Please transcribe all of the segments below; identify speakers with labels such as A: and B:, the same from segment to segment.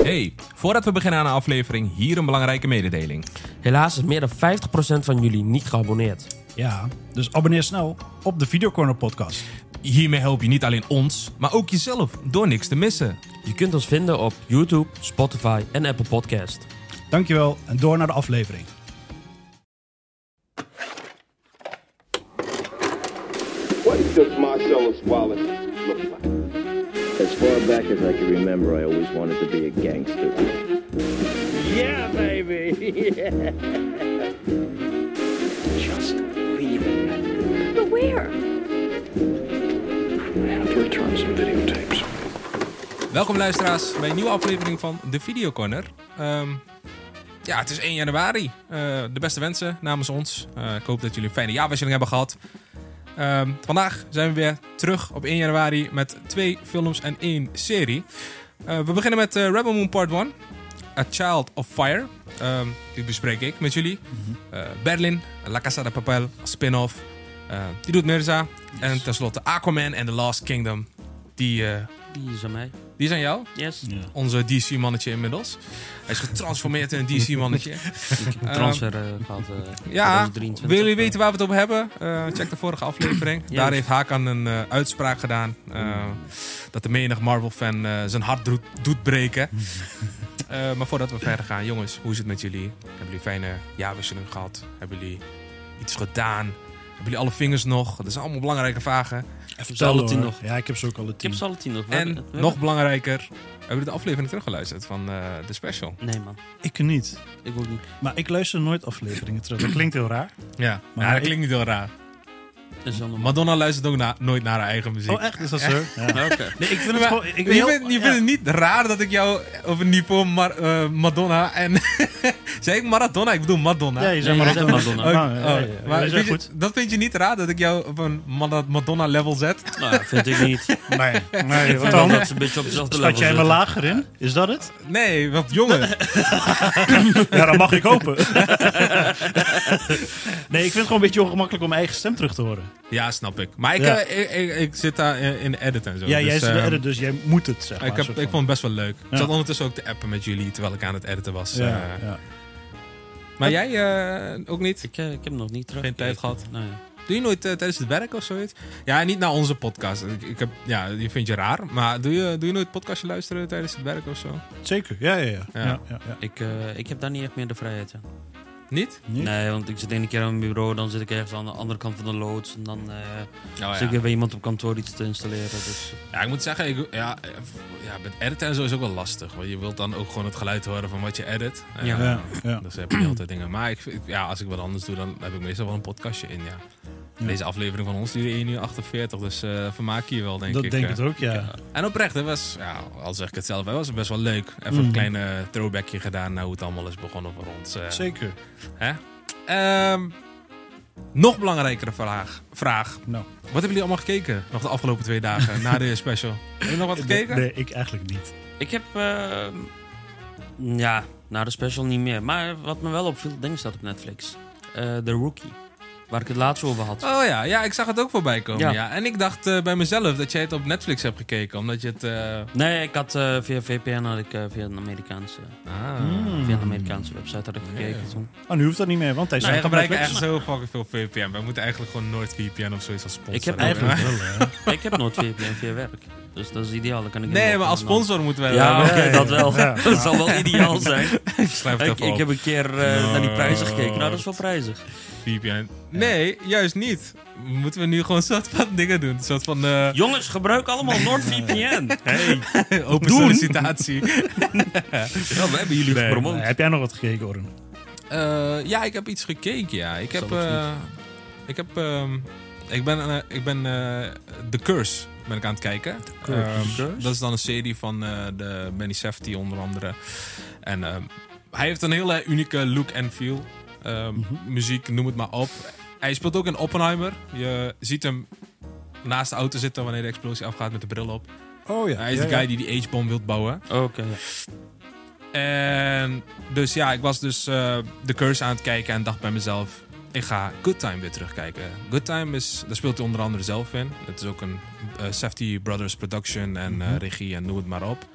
A: Hey, voordat we beginnen aan de aflevering, hier een belangrijke mededeling.
B: Helaas is meer dan 50% van jullie niet geabonneerd.
C: Ja, dus abonneer snel op de Videocorner podcast.
A: Hiermee help je niet alleen ons, maar ook jezelf door niks te missen.
B: Je kunt ons vinden op YouTube, Spotify en Apple Podcast.
C: Dankjewel en door naar de aflevering.
D: What does Marcellus Wallace look like?
E: As far back as I can remember, I always wanted to be a gangster.
D: Yeah, baby. Just leave it.
F: But where?
D: I have to return some videotapes.
A: Welkom luisteraars bij een nieuwe aflevering van de Videocorner. Ehm ja, het is 1 januari. Eh, de beste wensen namens ons. Eh, ik hoop dat jullie een fijne jaarwisseling hebben gehad. Ehm, vandaag zijn we weer terug op 1 januari met twee films en één serie. Eh, we beginnen met eh, Rebel Moon Part 1. A Child of Fire. Ehm, die bespreek ik met jullie. Eh, Berlin, La Casa de Papel, spin-off. Eh, die doet Mirza. En tenslotte Aquaman en The Last Kingdom. Die, eh,
B: Die is aan mij.
A: die zijn jou
B: Yes.
A: onze DC-mannetje inmiddels. Hij is getransformeerd in een DC-mannetje.
B: Transfer eh, gehad. eh,
A: Ja,
B: 2023.
A: willen jullie weten waar we het over hebben? Eh, check de vorige aflevering.
B: Yes.
A: Daar heeft Hakan een eh, uitspraak gedaan. eh, Dat de menig Marvel-fan eh, zijn hart doet, doet breken. Eh, maar voordat we verder gaan, jongens, hoe is het met jullie? Hebben jullie fijne jaarwisseling gehad? Hebben jullie iets gedaan? Hebben jullie alle vingers nog? Dat zijn allemaal belangrijke vragen.
C: Even
B: ze alle
C: tellen,
B: tien
C: hoor.
B: nog?
C: Ja, ik heb ze ook alle
B: Ik
C: tien.
B: heb ze alle tien nog. We
A: En
B: hebben- we
A: nog
B: hebben-
A: belangrijker, hebben jullie de aflevering teruggeluisterd van eh, de special?
B: Nee man,
C: Ik niet.
B: ik ook niet.
C: Maar ik luister nooit afleveringen terug. Dat klinkt heel raar.
A: Ja,
C: Maar
A: ja dat
C: ik-
A: klinkt niet heel raar.
B: Dat is wel normaal.
A: Madonna luistert ook na- nooit naar haar eigen muziek.
C: Oh, echt? Is dat zo? Ja.
B: Oké.
C: Nee, ik vind het
A: Maar
C: gewoon... Ik ben
A: je
C: heel-
A: vindt, je
C: ja.
A: vindt het niet raar dat ik jou over niveau Mar- eh, Madonna en... zei ik Maradona? Ik bedoel Madonna.
C: Ja, je
B: Nee,
C: zei maar
B: je zei Madonna.
C: Oh,
A: Ook-
C: ja, ja,
A: oh,
C: ja, ja.
A: maar
C: Dat is
A: vind
C: wel
A: je-
C: goed.
A: dat vind je niet raar dat ik jou op een Mad- Madonna level zet?
B: Nou, ja, vind ik niet. Ik
C: Nee, nee, wat
B: vind wel dat
C: dan?
B: ze een beetje op dezelfde level
C: Schat jij me
B: zitten.
C: lager in? Is dat het?
A: Nee, wat jongen.
C: Ja, dat mag ik hopen. nee, ik vind het gewoon een beetje ongemakkelijk om mijn eigen stem terug te horen.
A: ja, snap ik. Maar ik,
C: Ja.
A: eh, ik, ik, ik zit daar in in edit en zo.
C: ja, jij
A: dus,
C: is de
A: eh,
C: edit, dus jij moet het, zeg maar.
A: Ik, heb,
C: soort
A: ik vond
C: van.
A: het best wel leuk.
C: Ja.
A: Ik zat ondertussen ook te appen met jullie terwijl ik aan het editen was.
C: Ja,
A: eh.
C: ja.
A: Maar jij eh, ook niet?
B: Ik, eh, ik heb nog niet terug.
A: Geen tijd gehad.
B: Nee.
A: Doe je nooit eh, tijdens het werk of zoiets? Ja, niet naar onze podcast. Ik, ik heb, ja, die vind je raar. Maar doe je, doe je nooit podcastje luisteren tijdens het werk of zo?
C: Zeker, ja, ja, ja. ja.
A: Ja.
C: ja, ja.
B: Ik, eh, ik heb daar niet echt meer de vrijheid in.
A: Niet?
C: Niet?
B: Nee, want ik zit de ene keer aan mijn bureau, dan zit ik ergens aan de andere kant van de loods. En dan eh,
A: Oh, ja.
B: zit ik weer bij iemand op kantoor iets te installeren. Dus
A: Ja, ik moet zeggen, ik, ja, eh, ja, met editen en zo is ook wel lastig. Want je wilt dan ook gewoon het geluid horen van wat je edit. Eh,
B: Ja.
C: Ja, ja.
A: Dus heb je altijd dingen. Maar ik, ik- ja, als ik wat anders doe, dan heb ik meestal wel een podcastje in, ja.
C: Ja.
A: Deze aflevering van ons duurde 1 uur 48, dus eh vermaak je je wel, denk
C: dat
A: ik.
C: denk ik
A: eh.
C: ook, ja.
A: En oprecht, het was, ja, al zeg ik het zelf, het was best wel leuk. Even een
C: Mhm.
A: klein eh, throwbackje gedaan naar hoe het allemaal is begonnen voor ons. eh.
C: Zeker.
A: Ehm, nog belangrijkere vraag. vraag.
C: Nou.
A: Wat hebben jullie allemaal gekeken? Nog de afgelopen twee dagen na de special. Heb je nog wat gekeken?
C: Nee, ik eigenlijk niet.
B: Ik heb, eh, ja, nou de special niet meer. Maar wat me wel opviel, denk ik staat op Netflix. Eh The Rookie, waar ik het laatst over had.
A: Oh ja, ja, ik zag het ook voorbij komen. Ja.
B: Ja.
A: En ik dacht eh, bij mezelf dat jij het op Netflix hebt gekeken. Omdat je het... eh,
B: Nee, ik had eh, via VPN, had ik, eh, via, een Amerikaanse,
A: ah.
B: via een Amerikaanse website had ik gekeken toen.
C: Oh, nu hoeft dat niet meer, want hij
A: Wij
C: zijn
A: gebruiken echt zo fucking veel VPN. Wij moeten eigenlijk gewoon NoordVPN of zoiets als sponsor
B: Ik heb
A: hebben.
B: eigenlijk
C: wel, hè.
B: ik heb nooit VPN via werk, dus dat is ideaal. Dan kan ik
A: Nee,
B: hem
A: maar
B: wel
A: als
B: gewoon dan-
A: sponsor moeten wij...
B: Ja,
A: wel.
B: oké, dat wel.
C: Ja.
B: dat zal wel ideaal zijn.
A: Ik schrijf het
B: Ik,
A: even
B: ik
A: op.
B: heb een keer eh, naar die prijzen gekeken. Nou, dat is wel prijzig.
A: VPN. Nee, juist niet. Moeten we nu gewoon een soort van dingen doen. Een soort van... eh,
B: Jongens, gebruik allemaal NordVPN. Hey.
A: Open
B: Doen.
A: sollicitatie. Nou,
B: we hebben jullie
A: Nee,
B: gepromoot.
C: Heb jij nog wat gekeken, Oren?
A: Eh, ja, ik heb iets gekeken, ja. Ik heb...
B: Zal ik
A: eh, ik heb... ehm, ik ben... eh, ik ben eh, The Curse ben ik aan het kijken.
B: Curse.
A: Ehm,
B: The Curse?
A: dat is dan een serie van eh, de Benny Safdie onder andere. En ehm, hij heeft een hele unieke look en feel. Ehm,
B: Mhm.
A: Muziek, noem het maar op. Hij speelt ook in Oppenheimer. Je ziet hem naast de auto zitten wanneer de explosie afgaat met de bril op.
C: Oh ja.
A: Hij is
C: ja,
A: de guy die die H-bomb wilt bouwen.
B: Oké, ja.
A: En dus ja, ik was dus eh, de curse aan het kijken en dacht bij mezelf, ik ga Good Time weer terugkijken. Good Time is, daar speelt hij onder andere zelf in.
C: Mhm.
A: Het is ook een eh Safety Brothers production en eh, regie en noem het maar op.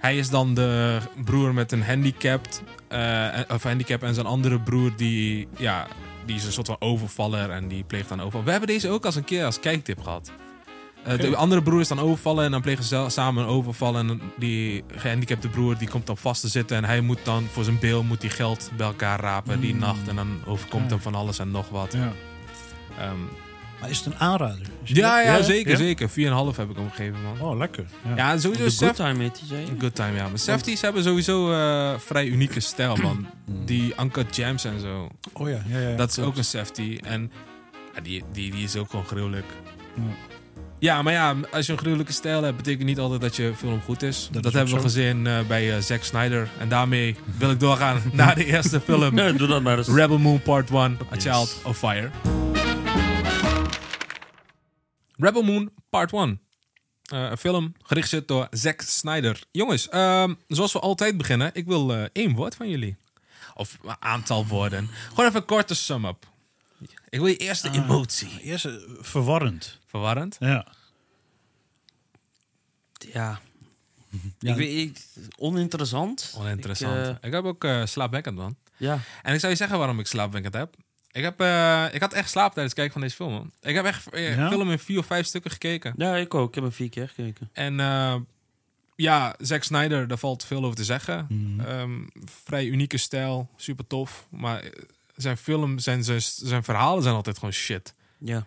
A: Hij is dan de broer met een handicapped, eh, of handicap en zijn andere broer die, ja, die is een soort van overvaller en die pleegt dan overval. We hebben deze ook als een keer als kijktip gehad. Eh, de andere broer is dan overvallen en dan plegen ze zel- samen een overval. En die gehandicapte broer die komt dan vast te zitten. En hij moet dan voor zijn beel moet die geld bij elkaar rapen die nacht. En dan overkomt
C: Mm. Ja.
A: hem van alles en nog wat.
C: Ja.
A: Ehm,
C: Maar is het een aanrader? Is
A: ja,
C: het-
A: ja, zeker,
C: Ja?
A: zeker. 4,5 heb ik hem gegeven, man.
C: Oh, lekker. Ja.
A: Ja, en
B: The
A: sowieso
B: Good
A: Safety.
B: Time heet die, zei je?
A: Good time, ja. Maar Safeties hebben sowieso eh, vrij unieke stijl, man. Die Anka Jams en zo.
C: Oh ja, Mm. ja, ja, ja.
A: Dat is ook een safety. En ja, die, die, die is ook gewoon gruwelijk.
C: Ja.
A: Ja. maar ja, als je een gruwelijke stijl hebt, betekent niet altijd dat je film goed is. Dat,
C: is ook
A: hebben we
C: zo.
A: gezien eh, bij eh, Zack Snyder. En daarmee wil ik doorgaan naar de eerste film.
B: Nee, doe dat maar eens.
A: Rebel Moon Part 1, A
B: Yes.
A: Child of Fire. Rebel Moon Part 1. Eh, een film gericht zit door Zack Snyder. Jongens, ehm, zoals we altijd beginnen, ik wil eh, één woord van jullie. Of een aantal woorden. Gewoon even een korte sum-up. Ik wil je eerste emotie.
C: Eerst eh, verwarrend.
A: Verwarrend?
C: Ja.
B: Ja. Ik weet, ik- oninteressant.
A: Mhm. Oninteressant. Ik,
B: Ik, eh,
A: heb ook eh, slaapwekkend, man.
B: ja.
A: En ik zou je zeggen waarom ik slaapwekkend heb. Ik, heb, eh, ik had echt slaap tijdens het kijken van deze film. man. Ik heb echt eh,
C: Ja?
A: film in vier of vijf stukken gekeken.
B: ja, Nou, ik ook. Ik heb hem vier keer gekeken.
A: En eh, ja, Zack Snyder, daar valt veel over te zeggen.
C: Mhm.
A: Ehm, vrij unieke stijl, super tof. Maar eh, zijn film, zijn, zijn, zijn verhalen zijn altijd gewoon shit.
B: Ja.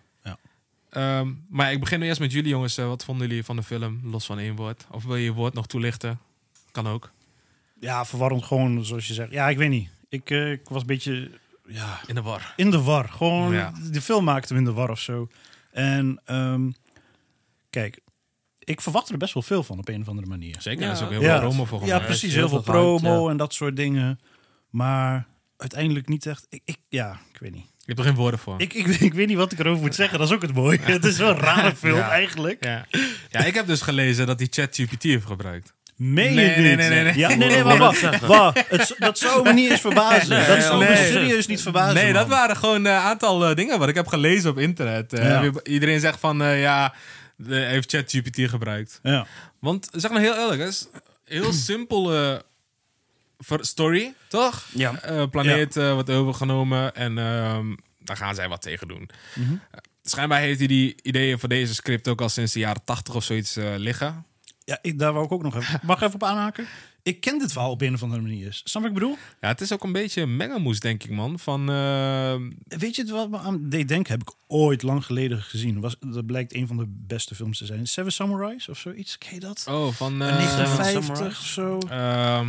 A: Ehm, maar ik begin nu eerst met jullie jongens. Eh, wat vonden jullie van de film, los van één woord? Of wil je je woord nog toelichten? Kan ook.
C: Ja, verwarrend gewoon, zoals je zegt. Ja, ik weet niet. Ik, eh, ik was een beetje ja,
A: In de war.
C: in de war. Gewoon,
A: Ja.
C: de film maakte me in de war of zo. En ehm, kijk, ik verwachtte er best wel veel van op een of andere manier.
A: Zeker,
B: Ja.
A: dat is ook heel
C: ja,
A: veel rommel voor
C: Ja,
A: mij.
B: Er
C: precies.
B: is
C: Heel
B: heel
C: veel
B: veel gehyped,
C: promo
B: ja.
C: en dat soort dingen. Maar uiteindelijk niet echt... Ik, ik, ja, ik weet niet.
A: Je hebt er geen woorden voor.
C: Ik, ik, ik weet niet wat ik erover moet zeggen. Dat is ook het mooie. Het is wel een rare film
A: Ja.
C: eigenlijk.
A: Ja. ja, ik heb dus gelezen dat hij ChatGPT heeft gebruikt.
C: Meen
A: Nee,
C: je
A: nee,
C: niet?
A: nee, nee, nee.
C: Ja, nee, nee, maar wacht. wacht. Het z- dat zou me niet eens verbazen. dat zou me
A: nee.
C: serieus niet verbazen.
A: Nee, dat
C: man.
A: waren gewoon een aantal eh, dingen wat ik heb gelezen op internet. Eh,
C: Ja.
A: heb je- Iedereen zegt van, eh, ja, de- hij heeft ChatGPT gebruikt.
C: Ja.
A: Want, zeg maar heel eerlijk, het is een heel simpele ver- story, toch?
B: Ja.
A: Eh, planeet eh, wordt overgenomen en ehm, daar gaan zij wat tegen doen.
B: Mhm.
A: Eh, Schijnbaar heeft hij die ideeën voor deze script ook al sinds de jaren tachtig of zoiets eh, liggen.
C: Ja, ik, daar wou ik ook nog even. Mag ik even op aanhaken? Ik ken dit verhaal op een of andere manier. Snap je wat ik bedoel?
A: Ja, het is ook een beetje een mengelmoes, denk ik, man. Van, ehm,
C: Weet je wat me aan deed denken? Heb ik ooit lang geleden gezien. Was, dat blijkt een van de beste films te zijn. Seven Samurais of zoiets. Ken je dat?
A: oh, van... eh,
C: 1950
B: Samurais.
C: of zo.
A: ehm,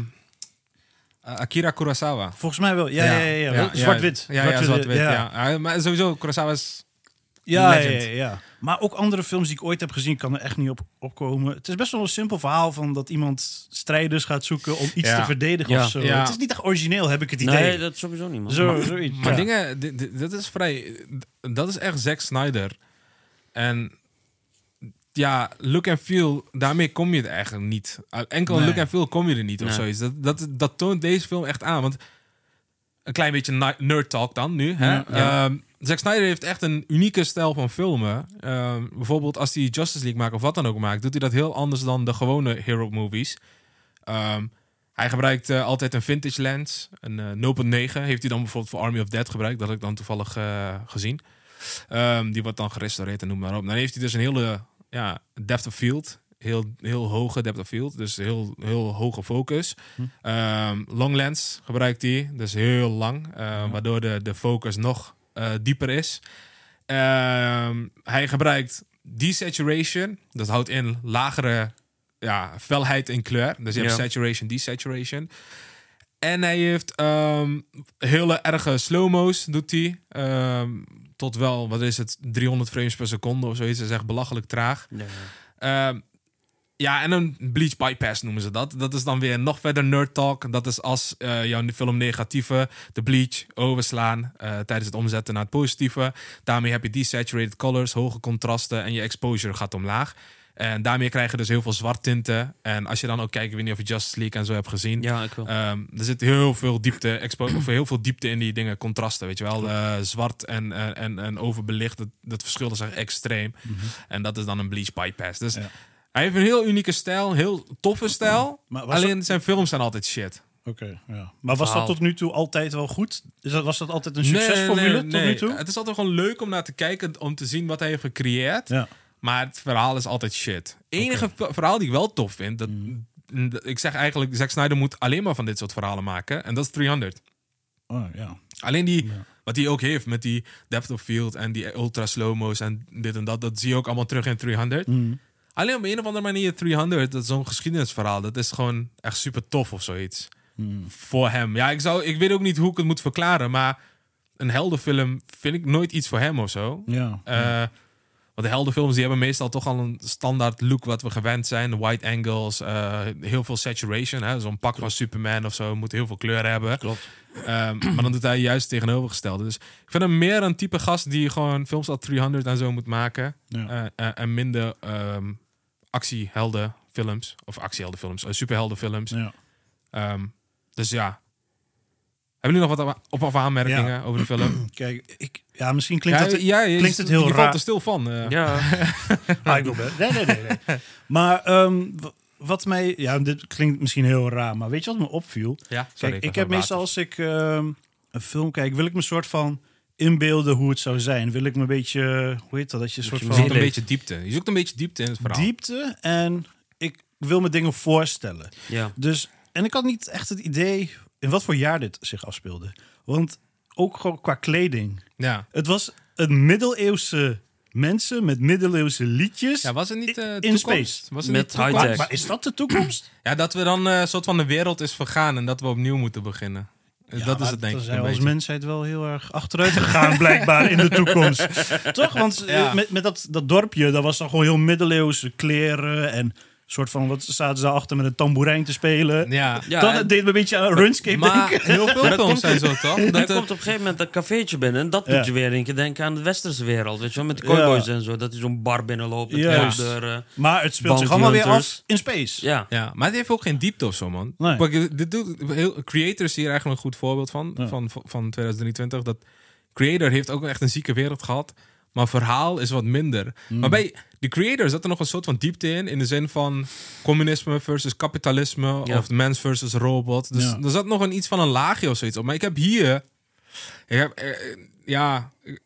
A: Akira Kurosawa.
C: Volgens mij wel. Ja, ja, ja. ja, Zwart-wit.
A: Ja, ja, zwart-wit.
C: ja.
A: Ja. Ja, maar sowieso, Kurosawa is...
C: Ja, ja,
A: Legend.
C: ja, ja. Maar ook andere films die ik ooit heb gezien, kan er echt niet op opkomen. Het is best wel een simpel verhaal van dat iemand strijders gaat zoeken om iets
A: Ja.
C: te verdedigen
B: Ja.
C: of zo.
A: Ja.
C: Het is niet echt origineel, heb ik het idee.
B: Nee, dat sowieso niet, man.
C: zo, zoiets.
A: Maar
C: ja.
A: dingen, dit- dit- dat is vrij... Dat is echt Zack Snyder. En ja, look and feel, daarmee kom je er eigenlijk niet. Enkel
C: Nee.
A: look and feel kom je er niet of
B: Nee.
A: zoiets. Dat, dat, dat toont deze film echt aan. Want een klein beetje ni- nerd talk dan nu. Hè?
C: Ja,
A: Ehm, Zack Snyder heeft echt een unieke stijl van filmen. Ehm, bijvoorbeeld als hij Justice League maakt of wat dan ook maakt, doet hij dat heel anders dan de gewone hero movies. Ehm, hij gebruikt eh, altijd een vintage lens, een eh, 0.9 heeft hij dan bijvoorbeeld voor Army of Dead gebruikt. Dat had ik dan toevallig eh, gezien. Ehm, die wordt dan gerestaureerd en noem maar op. Dan heeft hij dus een hele ja, depth of field. Heel, heel hoge depth of field. Dus heel, heel hoge focus. Ehm, long lens gebruikt hij. Dus heel lang. eh, Waardoor de, de focus nog eh, dieper is. Ehm, hij gebruikt desaturation. Dat houdt in lagere ja, felheid in kleur. Dus je hebt
B: Ja.
A: saturation, desaturation. En hij heeft ehm, hele erge slow-mo's, doet hij. Ehm, tot wel, wat is het, 300 frames per seconde of zoiets. Dat is echt belachelijk traag.
B: Ja, ja.
A: Ehm, ja, en een bleach bypass noemen ze dat. Dat is dan weer nog verder nerd talk. Dat is als eh, jouw film negatieve, de bleach, overslaan eh, tijdens het omzetten naar het positieve. Daarmee heb je desaturated colors, hoge contrasten en je exposure gaat omlaag. En daarmee krijg je dus heel veel zwart tinten. En als je dan ook kijkt, ik weet niet of je Justice League en zo hebt gezien.
B: Ja, ik wil.
A: Ehm, er zit heel veel diepte, expo- of heel veel diepte in die dingen, contrasten, weet je wel. Eh, zwart en, eh, en, en overbelicht, dat, dat verschil is echt extreem. En dat is dan een bleach bypass. Dus
C: Mhm. Ja.
A: Hij heeft een heel unieke stijl, een heel toffe stijl.
C: Maar was
A: Alleen zijn films zijn altijd shit.
C: Oké, ja. Maar was dat
B: Wauw.
C: tot nu toe altijd wel goed? Is dat, was dat altijd een succesformule
A: Nee, nee, nee.
C: tot nu toe?
A: Het is altijd gewoon leuk om naar te kijken, om te zien wat hij heeft gecreëerd.
C: Ja.
A: Maar het verhaal is altijd shit. Enige v- verhaal die ik wel tof vind, dat,
C: Mhm.
A: dat- ik zeg eigenlijk, Zack Snyder moet alleen maar van dit soort verhalen maken. En dat is 300.
C: Oh, ja.
A: Alleen die, wat hij ook heeft met die depth of field en die ultra slow-mo's en dit en dat, dat zie je ook allemaal terug in 300. Alleen op een of andere manier 300, dat is zo'n geschiedenisverhaal, dat is gewoon echt super tof of zoiets. Voor hem. Ja, ik, zou, ik weet ook niet hoe ik het moet verklaren, maar een heldenfilm vind ik nooit iets voor hem of zo.
C: Ja.
A: Eh, want de heldenfilms die hebben meestal toch al een standaard look wat we gewend zijn. Wide angles, eh, heel veel saturation. hè. Zo'n pak van Superman of zo moet heel veel kleur hebben. Klopt. maar dan doet hij juist het tegenovergestelde. Dus ik vind hem meer een type gast die gewoon films al 300 en zo moet maken.
C: Ja.
A: Eh, eh, en minder ehm actieheldenfilms. Of actieheldenfilms, eh, superheldenfilms.
C: ja.
A: Ehm, dus ja. Hebben jullie nog wat op- op- of aanmerkingen
C: Ja.
A: over de film?
C: Kijk, ik, ja, misschien klinkt,
A: ja,
C: dat,
A: ja, je-
C: klinkt het heel
A: je
C: raar.
A: valt er stil van. eh.
B: Ja,
C: Ah, ik wil best- Nee, nee, nee. nee. maar ehm, w- wat mij... Ja, dit klinkt misschien heel raar, maar weet je wat me opviel?
A: Ja, sorry, was aan
C: Kijk, ik, heb
A: het
C: meestal als ik ehm, een film kijk, wil ik me soort van inbeelden hoe het zou zijn. Wil ik me een beetje, hoe heet dat, dat je een soort
B: je
A: Je
C: van
A: zoekt een beetje
B: Meeleven.
A: diepte. Je zoekt een beetje diepte in het verhaal.
C: diepte en ik wil me dingen voorstellen.
B: ja.
C: Dus, en ik had niet echt het idee in wat voor jaar dit zich afspeelde. Want ook gewoon qua kleding.
A: Ja.
C: Het was een middeleeuwse mensen met middeleeuwse liedjes.
A: ja, was het niet eh
C: in
A: toekomst?
C: space.
A: Was het
B: Met
A: niet toekomst?
B: high-tech.
C: maar, maar is dat de toekomst?
A: Ja, dat we dan eh, een soort van de wereld is vergaan en dat we opnieuw moeten beginnen. Eh, dat is
C: maar
A: het denk
C: dan
A: ik
C: zijn
A: een
C: we als
A: beetje.
C: mensheid wel heel erg achteruit gegaan, blijkbaar, in de toekomst. Toch? Want eh,
A: Ja.
C: met, met dat, dat dorpje, daar was dan gewoon heel middeleeuwse kleren en soort van, wat zaten ze daarachter met een tamboerijn te spelen?
A: Ja.
B: Ja,
C: dat
B: en-
C: deed me een beetje aan RuneScape
A: maar
C: denken.
A: heel veel films
B: komt-
A: zijn zo toch? Dat eh,
B: Hij
A: het-
B: komt op een gegeven moment dat cafeetje binnen. En dat
C: Ja.
B: doet je weer een keer denken aan de westerse wereld. Weet je wel, met de cowboys
C: Ja.
B: en zo. Dat hij zo'n bar binnenloopt.
C: Ja.
B: eh, Ja. Deuren.
C: Maar het speelt zich
B: Bounty
C: allemaal weer af
B: Hunters.
C: in space.
B: Ja.
A: ja, maar het heeft ook geen diepte of zo, man.
C: Nee.
A: Pak- Dit doet, heel, Creator is hier eigenlijk een goed voorbeeld van, van, van 2023. Dat Creator heeft ook echt een zieke wereld gehad, maar verhaal is wat minder.
C: Mm.
A: Maar bij de Creator zat er nog een soort van diepte in, in de zin van communisme versus kapitalisme
B: Ja.
A: of mens versus robot. Dus
C: Ja.
A: er zat nog een, iets van een laagje of zoiets op. Maar ik heb hier, ik heb, eh, eh, ja, ik,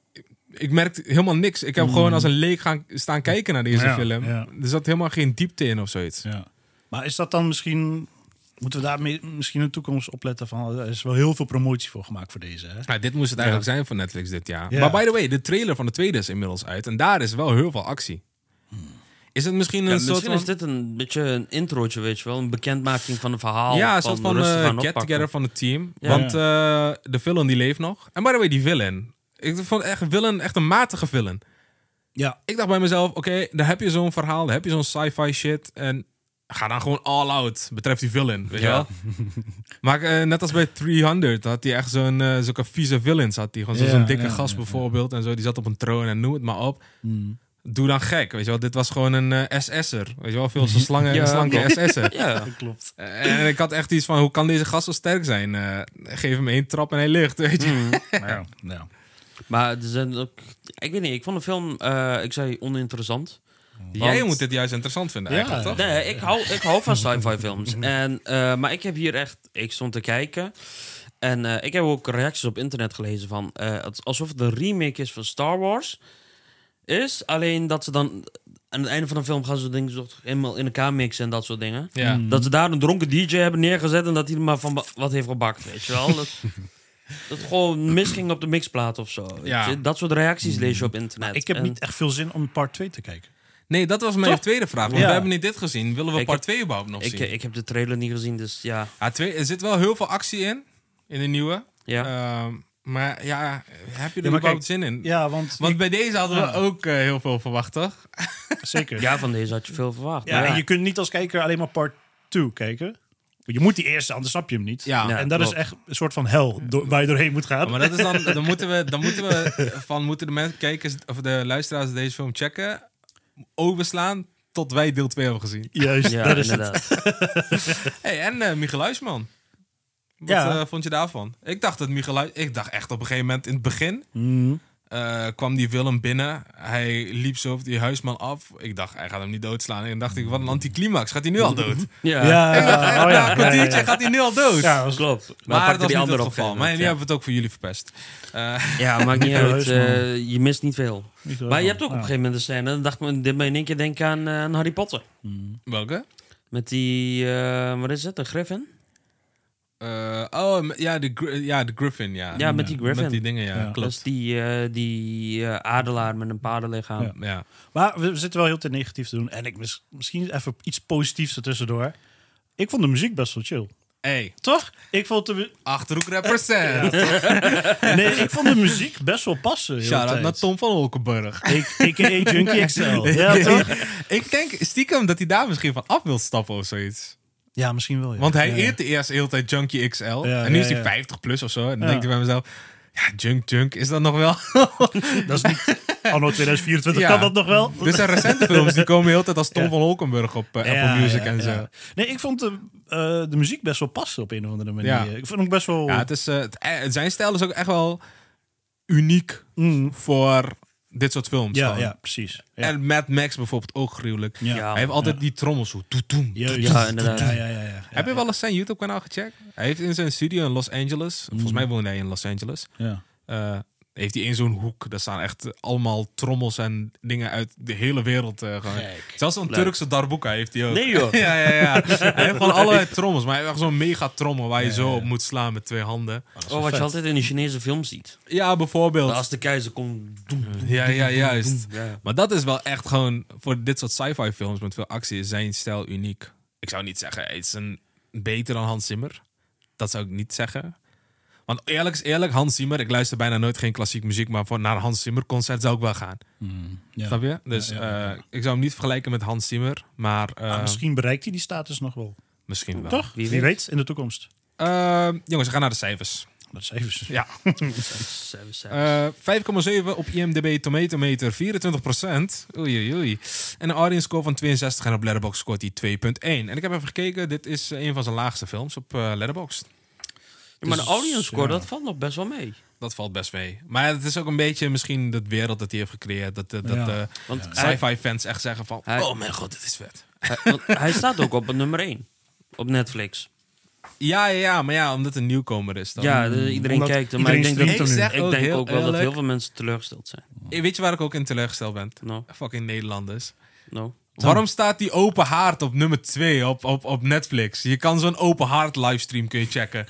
A: ik merk helemaal niks. Ik heb gewoon als een leek gaan staan kijken naar deze
C: Mm. Ja,
A: film.
C: ja.
A: Er zat helemaal geen diepte in of zoiets.
C: Maar is dat dan misschien... Moeten we daar mee- misschien in de toekomst opletten van... Er is wel heel veel promotie voor gemaakt voor deze, hè?
A: Ja, dit moest het eigenlijk zijn voor Netflix dit jaar.
C: Ja.
A: Maar by the way, de trailer van de tweede is inmiddels uit. En daar is wel heel veel actie. Is het misschien een
B: Ja,
A: soort
B: misschien
A: van...
B: is dit een beetje een introotje, weet je wel. Een bekendmaking van een verhaal.
A: ja, een soort van
B: rustig
A: eh,
B: aan oppakken.
A: get-together van het team. Want eh, de villain die leeft nog. En by the way, die villain. Ik vond echt, villain, echt een matige villain.
C: Ja.
A: Ik dacht bij mezelf, oké, daar heb je zo'n verhaal. Daar heb je zo'n sci-fi shit. En ga dan gewoon all out, betreft die villain. Weet je
B: Ja.
A: wel? Maar eh, net als bij 300 had hij echt zo'n eh, zulke vieze villains. Had hij gewoon zo-
C: Ja,
A: zo'n dikke
C: ja,
A: gast
C: ja, ja.
A: bijvoorbeeld. En zo, die zat op een troon en noem het maar op.
C: Hmm.
A: Doe dan gek, weet je wel. Dit was gewoon een eh, SS'er. Weet je wel, veel zo slangen,
B: Ja,
A: slanke
B: klopt.
A: SS'er.
B: Ja.
C: Klopt.
A: Eh, En ik had echt iets van, hoe kan deze gast zo sterk zijn? Eh, geef hem één trap en hij ligt, weet je.
C: Maar ja, ja.
B: Maar er zijn ook... Ik weet niet, ik vond de film, eh, ik zei oninteressant.
A: Jij
B: Hmm. Want-
A: moet dit juist interessant vinden
C: Ja.
A: eigenlijk, toch?
B: Nee, ik hou, ik hou van sci-fi films.
C: Mhm.
B: En, eh, maar ik heb hier echt... Ik stond te kijken. En eh, ik heb ook reacties op internet gelezen van... eh, het- alsof het een remake is van Star Wars. Is, alleen dat ze dan... Aan het einde van de film gaan ze dingen zo helemaal in elkaar mixen en dat soort dingen.
A: Ja.
C: Mhm.
B: Dat ze daar een dronken DJ hebben neergezet en dat hij er maar van ba- wat heeft gebakt, weet je wel. Dat, dat het gewoon misging op de mixplaat of zo. weet
A: Ja.
B: je. Dat soort reacties lees je op internet.
C: Mhm. Ik heb
B: En-
C: niet echt veel zin om part 2 te kijken.
A: Nee, dat was mijn
C: Toch?
A: tweede vraag. Want
C: Ja.
A: we hebben niet dit gezien. Willen we
B: Ik
A: part
B: heb-
A: 2 überhaupt nog
B: ik,
A: zien?
B: ik heb de trailer niet gezien, dus ja.
A: Ja, Ah, twee, er zit wel heel veel actie in, in de nieuwe.
B: Ja.
C: Eh,
A: Ehm, maar ja, heb je er
C: maar
A: überhaupt
C: kijk,
A: zin in?
C: Ja, want...
A: Want bij deze hadden we ook eh, heel veel verwacht, toch?
C: zeker.
B: Ja, van deze had je veel verwacht.
C: Ja,
B: maar
C: en je kunt niet als kijker alleen maar part 2 kijken. Je moet die eerste, anders snap je hem niet.
A: Ja. Ja,
C: en dat
B: klopt.
C: is echt een soort van hel door- waar je doorheen moet gaan.
A: Maar dat is dan, dan moeten we, dan moeten we van moeten de mensen, kijkers of de luisteraars deze film checken, overslaan tot wij deel 2 hebben gezien.
C: Juist,
B: ja,
C: dat is het.
B: inderdaad.
A: Hey, en eh Michel Huisman. Wat
C: Ja. Mm.
A: eh, vond je daarvan? Ik dacht dat Michel Huis- ik dacht echt op een gegeven moment in het begin eh, kwam die Willem binnen. Hij liep zo op die huisman af. Ik dacht, hij gaat hem niet doodslaan. En dan dacht ik, wat een anticlimax. Gaat hij nu al dood?
B: Ja,
C: Ja,
A: Ik dacht, echt,
C: oh
A: na een
C: ja, ja, ja,
A: kwartiertje
C: ja.
A: gaat hij nu al dood.
C: Ja, dat was-
B: klopt.
A: Maar,
B: pakte
A: dat was
B: die
A: niet
B: andere
A: het
B: op
A: geval.
B: een gegeven
A: Maar
B: moment,
A: jullie hebben het ook voor jullie verpest. Eh,
B: Ja, maakt niet
C: Heus,
B: uit.
C: man.
B: eh, je mist niet veel.
C: Niet heel
B: Maar je
C: erg,
B: hebt ook op
C: ja.
B: een gegeven moment een scène. Dan dacht men, dit me in één keer denken aan, eh, aan Harry Potter.
A: welke?
B: Met die, eh, wat is het, een griffin?
A: Eh, oh, m- ja de, gr- ja, de Griffin, ja.
B: Ja, met die griffin.
A: Met die dingen, ja.
C: Ja.
B: Dat is
A: Klopt.
B: die, eh, die eh, adelaar met een paardenlichaam.
C: Ja.
A: Ja.
C: Maar we zitten wel heel te negatief te doen. En ik mis, misschien even iets positiefs ertussendoor. Ik vond de muziek best wel chill.
A: Hey,
C: Toch? Ik vond de, mu-
A: Achterhoek represent.
C: nee, ik vond de muziek best wel passen. heel de
A: Shout-out
C: tijd.
A: naar Tom van Holkenburg.
C: Ik- A.k.a. Junkie XL. Ja, toch?
A: ik denk stiekem dat hij daar misschien van af wil stappen of zoiets.
C: Ja, misschien wel. ja.
A: Want hij
C: Ja.
A: eert eerst de hele tijd Junkie XL.
C: Ja,
A: en nu
C: ja,
A: is hij
C: ja.
A: 50 plus of zo. En dan
C: Ja.
A: denkt hij bij mezelf... Ja, Junk Junk is dat nog wel.
C: Dat is niet... Anno 2024
A: Ja.
C: kan dat nog wel.
A: dus zijn recente films die komen de hele tijd als Tom
C: Ja.
A: van Holkenburg op eh,
C: Ja,
A: Apple Music
C: ja,
A: en zo.
C: ja.
A: Ja,
C: Nee, ik vond de, eh, de muziek best wel passen op een of andere manier.
A: Ja.
C: Ik vond hem best wel...
A: het is, eh, het- eh, zijn stijl is ook echt wel uniek voor dit soort films.
C: Mm. ja,
A: gewoon.
C: ja, precies. Ja.
A: En Mad Max bijvoorbeeld ook gruwelijk.
C: Ja.
A: Hij heeft altijd die trommels zo. toet, toem, toet,
C: Jezus.
B: Ja, inderdaad.
C: Ja, ja, ja, ja.
A: Heb je wel eens zijn YouTube-kanaal gecheckt? Hij heeft in zijn studio in Los Angeles,
C: Mm.
A: volgens mij woonde hij in Los Angeles,
C: Ja.
A: eh, heeft hij in zo'n hoek, daar staan echt eh, allemaal trommels en dingen uit de hele wereld. eh, gewoon. Zelfs een Turkse darbuka heeft hij ook.
B: Nee, joh.
A: ja, ja, ja. Hij heeft gewoon allerlei trommels, maar hij heeft echt zo'n mega trommel waar je zo op moet slaan met twee handen.
B: Oh, wat je altijd in de Chinese film ziet.
A: Ja, bijvoorbeeld.
B: Als de keizer komt... doem, doem,
A: Ja, ja, juist.
B: Ja.
A: Maar dat is wel echt gewoon voor dit soort sci-fi films met veel actie is zijn stijl uniek. Ik zou niet zeggen, het is een beter dan Hans Zimmer. Dat zou ik niet zeggen. Want eerlijk is eerlijk, Hans Zimmer, ik luister bijna nooit geen klassiek muziek, maar voor, naar een Hans Zimmer concert zou ik wel gaan. Snap je? Dus eh, ik zou hem niet vergelijken met Hans Zimmer, maar eh,
C: Maar
A: misschien,
C: misschien bereikt hij die status nog wel.
A: wel.
C: Toch?
B: Wie
C: Wie,
B: weet.
C: weet. in de toekomst.
A: Eh, jongens, we gaan naar de cijfers.
C: Dat is even...
A: Ja.
B: Seven, seven.
A: Eh, 5,7 op IMDb Tomatometer, 24%. Oei, oei, oei. En een audience score van 62 en op Letterboxd scoort hij 2,1. En ik heb even gekeken, dit is eh, een van zijn laagste films op eh, Letterboxd.
B: Ja, maar de
C: dus,
B: audience score,
C: ja.
B: dat valt nog best wel mee.
A: Dat valt best mee. Maar het is ook een beetje misschien dat wereld dat hij heeft gecreëerd. Dat, eh, dat
C: Ja.
A: eh,
B: Want hij,
A: sci-fi fans echt zeggen van,
B: Hij-
A: oh mijn god, dit is vet.
B: hij- want hij staat ook op nummer 1. Op Netflix.
A: Ja, ja, ja, maar ja, omdat het een nieuwkomer is dan.
B: Ja, de- eh, iedereen
C: Omdat
B: kijkt hem. Maar
C: iedereen
B: ik denk, dat,
C: streamt hem nu.
A: Ik zeg ook
B: ik denk
A: heel
B: ook wel dat heel
A: eerlijk-
B: veel mensen teleurgesteld zijn.
A: Eh, Weet je waar ik ook in teleurgesteld ben?
B: Nou,
A: Fucking Nederlanders.
B: nou.
A: Waarom staat die open haard op nummer 2 op, op, op Netflix? Je kan zo'n open haard livestream kun je checken.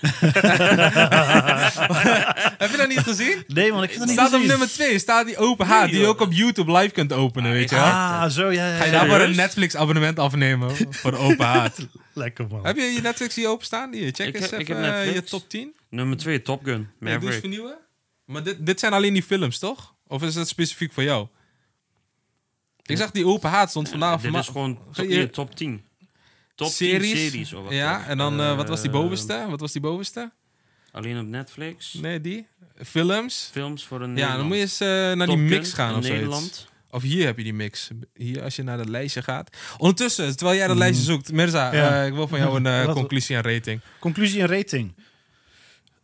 A: Heb je dat niet gezien?
C: Nee, want ik vind dat niet
A: Staat op
C: precies.
A: nummer 2, staat die open haard die je ook op YouTube live kunt openen, weet je wel?
C: Ah, zo, ja, ja,
A: Ga je
C: ja.
A: daar maar een
B: serieus?
A: Netflix abonnement afnemen voor de open haard.
C: Lekker, man.
A: heb je je Netflix hier openstaan? Hier, check
B: Ik
A: eens
B: heb- ik
A: even
B: heb
A: eh, je
B: Netflix.
A: top 10.
B: Nummer 2, Top Gun.
A: Nee, doe eens
B: Maverick.
A: vernieuwen. Maar dit, dit zijn alleen die films, toch? Of is dat specifiek voor jou? Ik zag die open haard stond vanavond.
B: Dit is gewoon to-
A: je-
B: je top 10. Top 10 series. oh, wacht
A: ja,
B: even.
A: en dan eh, wat was die
B: Eh,
A: bovenste? Wat was die bovenste?
B: Alleen op Netflix.
A: Nee, die. Films.
B: Films voor een
A: Ja, dan moet je eens eh, naar die mix gaan of zoiets. Of hier heb je die mix. Hier, als je naar dat lijstje gaat. Ondertussen, terwijl jij dat lijstje zoekt. Mirza,
C: Ja.
A: eh, ik wil van jou een eh,
C: Wat-
A: conclusie en rating.
C: Conclusie en rating.